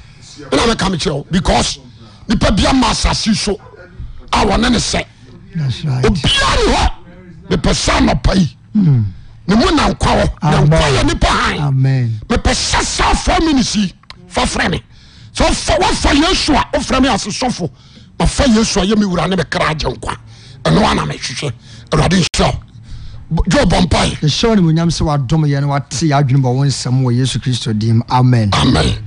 [SPEAKER 2] ɛna meka mekyerɛ wo because nipa bia ma asase so a wɔne ne sɛ
[SPEAKER 1] that's right
[SPEAKER 2] obia ne hɔ mepɛ sɛ anɔpa yi ne mu na nkwa wɔ na nkwa yɛ nipa han
[SPEAKER 1] amen
[SPEAKER 2] mepɛ sɛ saa four minutes yi fa frɛ me sɛ wofa wofa yesu a wofrɛ me asesɔfo mafa yesu a yɛ me wura ne me kra agye nkwa ɛno ana mehwehwɛ awurade nhyɛ wo dwo bɔmpae
[SPEAKER 1] yɛhyɛ wo ne munyam sɛ wadom yɛ no wate yɛ adwene bɔ wo nsɛm wɔ yesu kristo dim amen
[SPEAKER 2] amen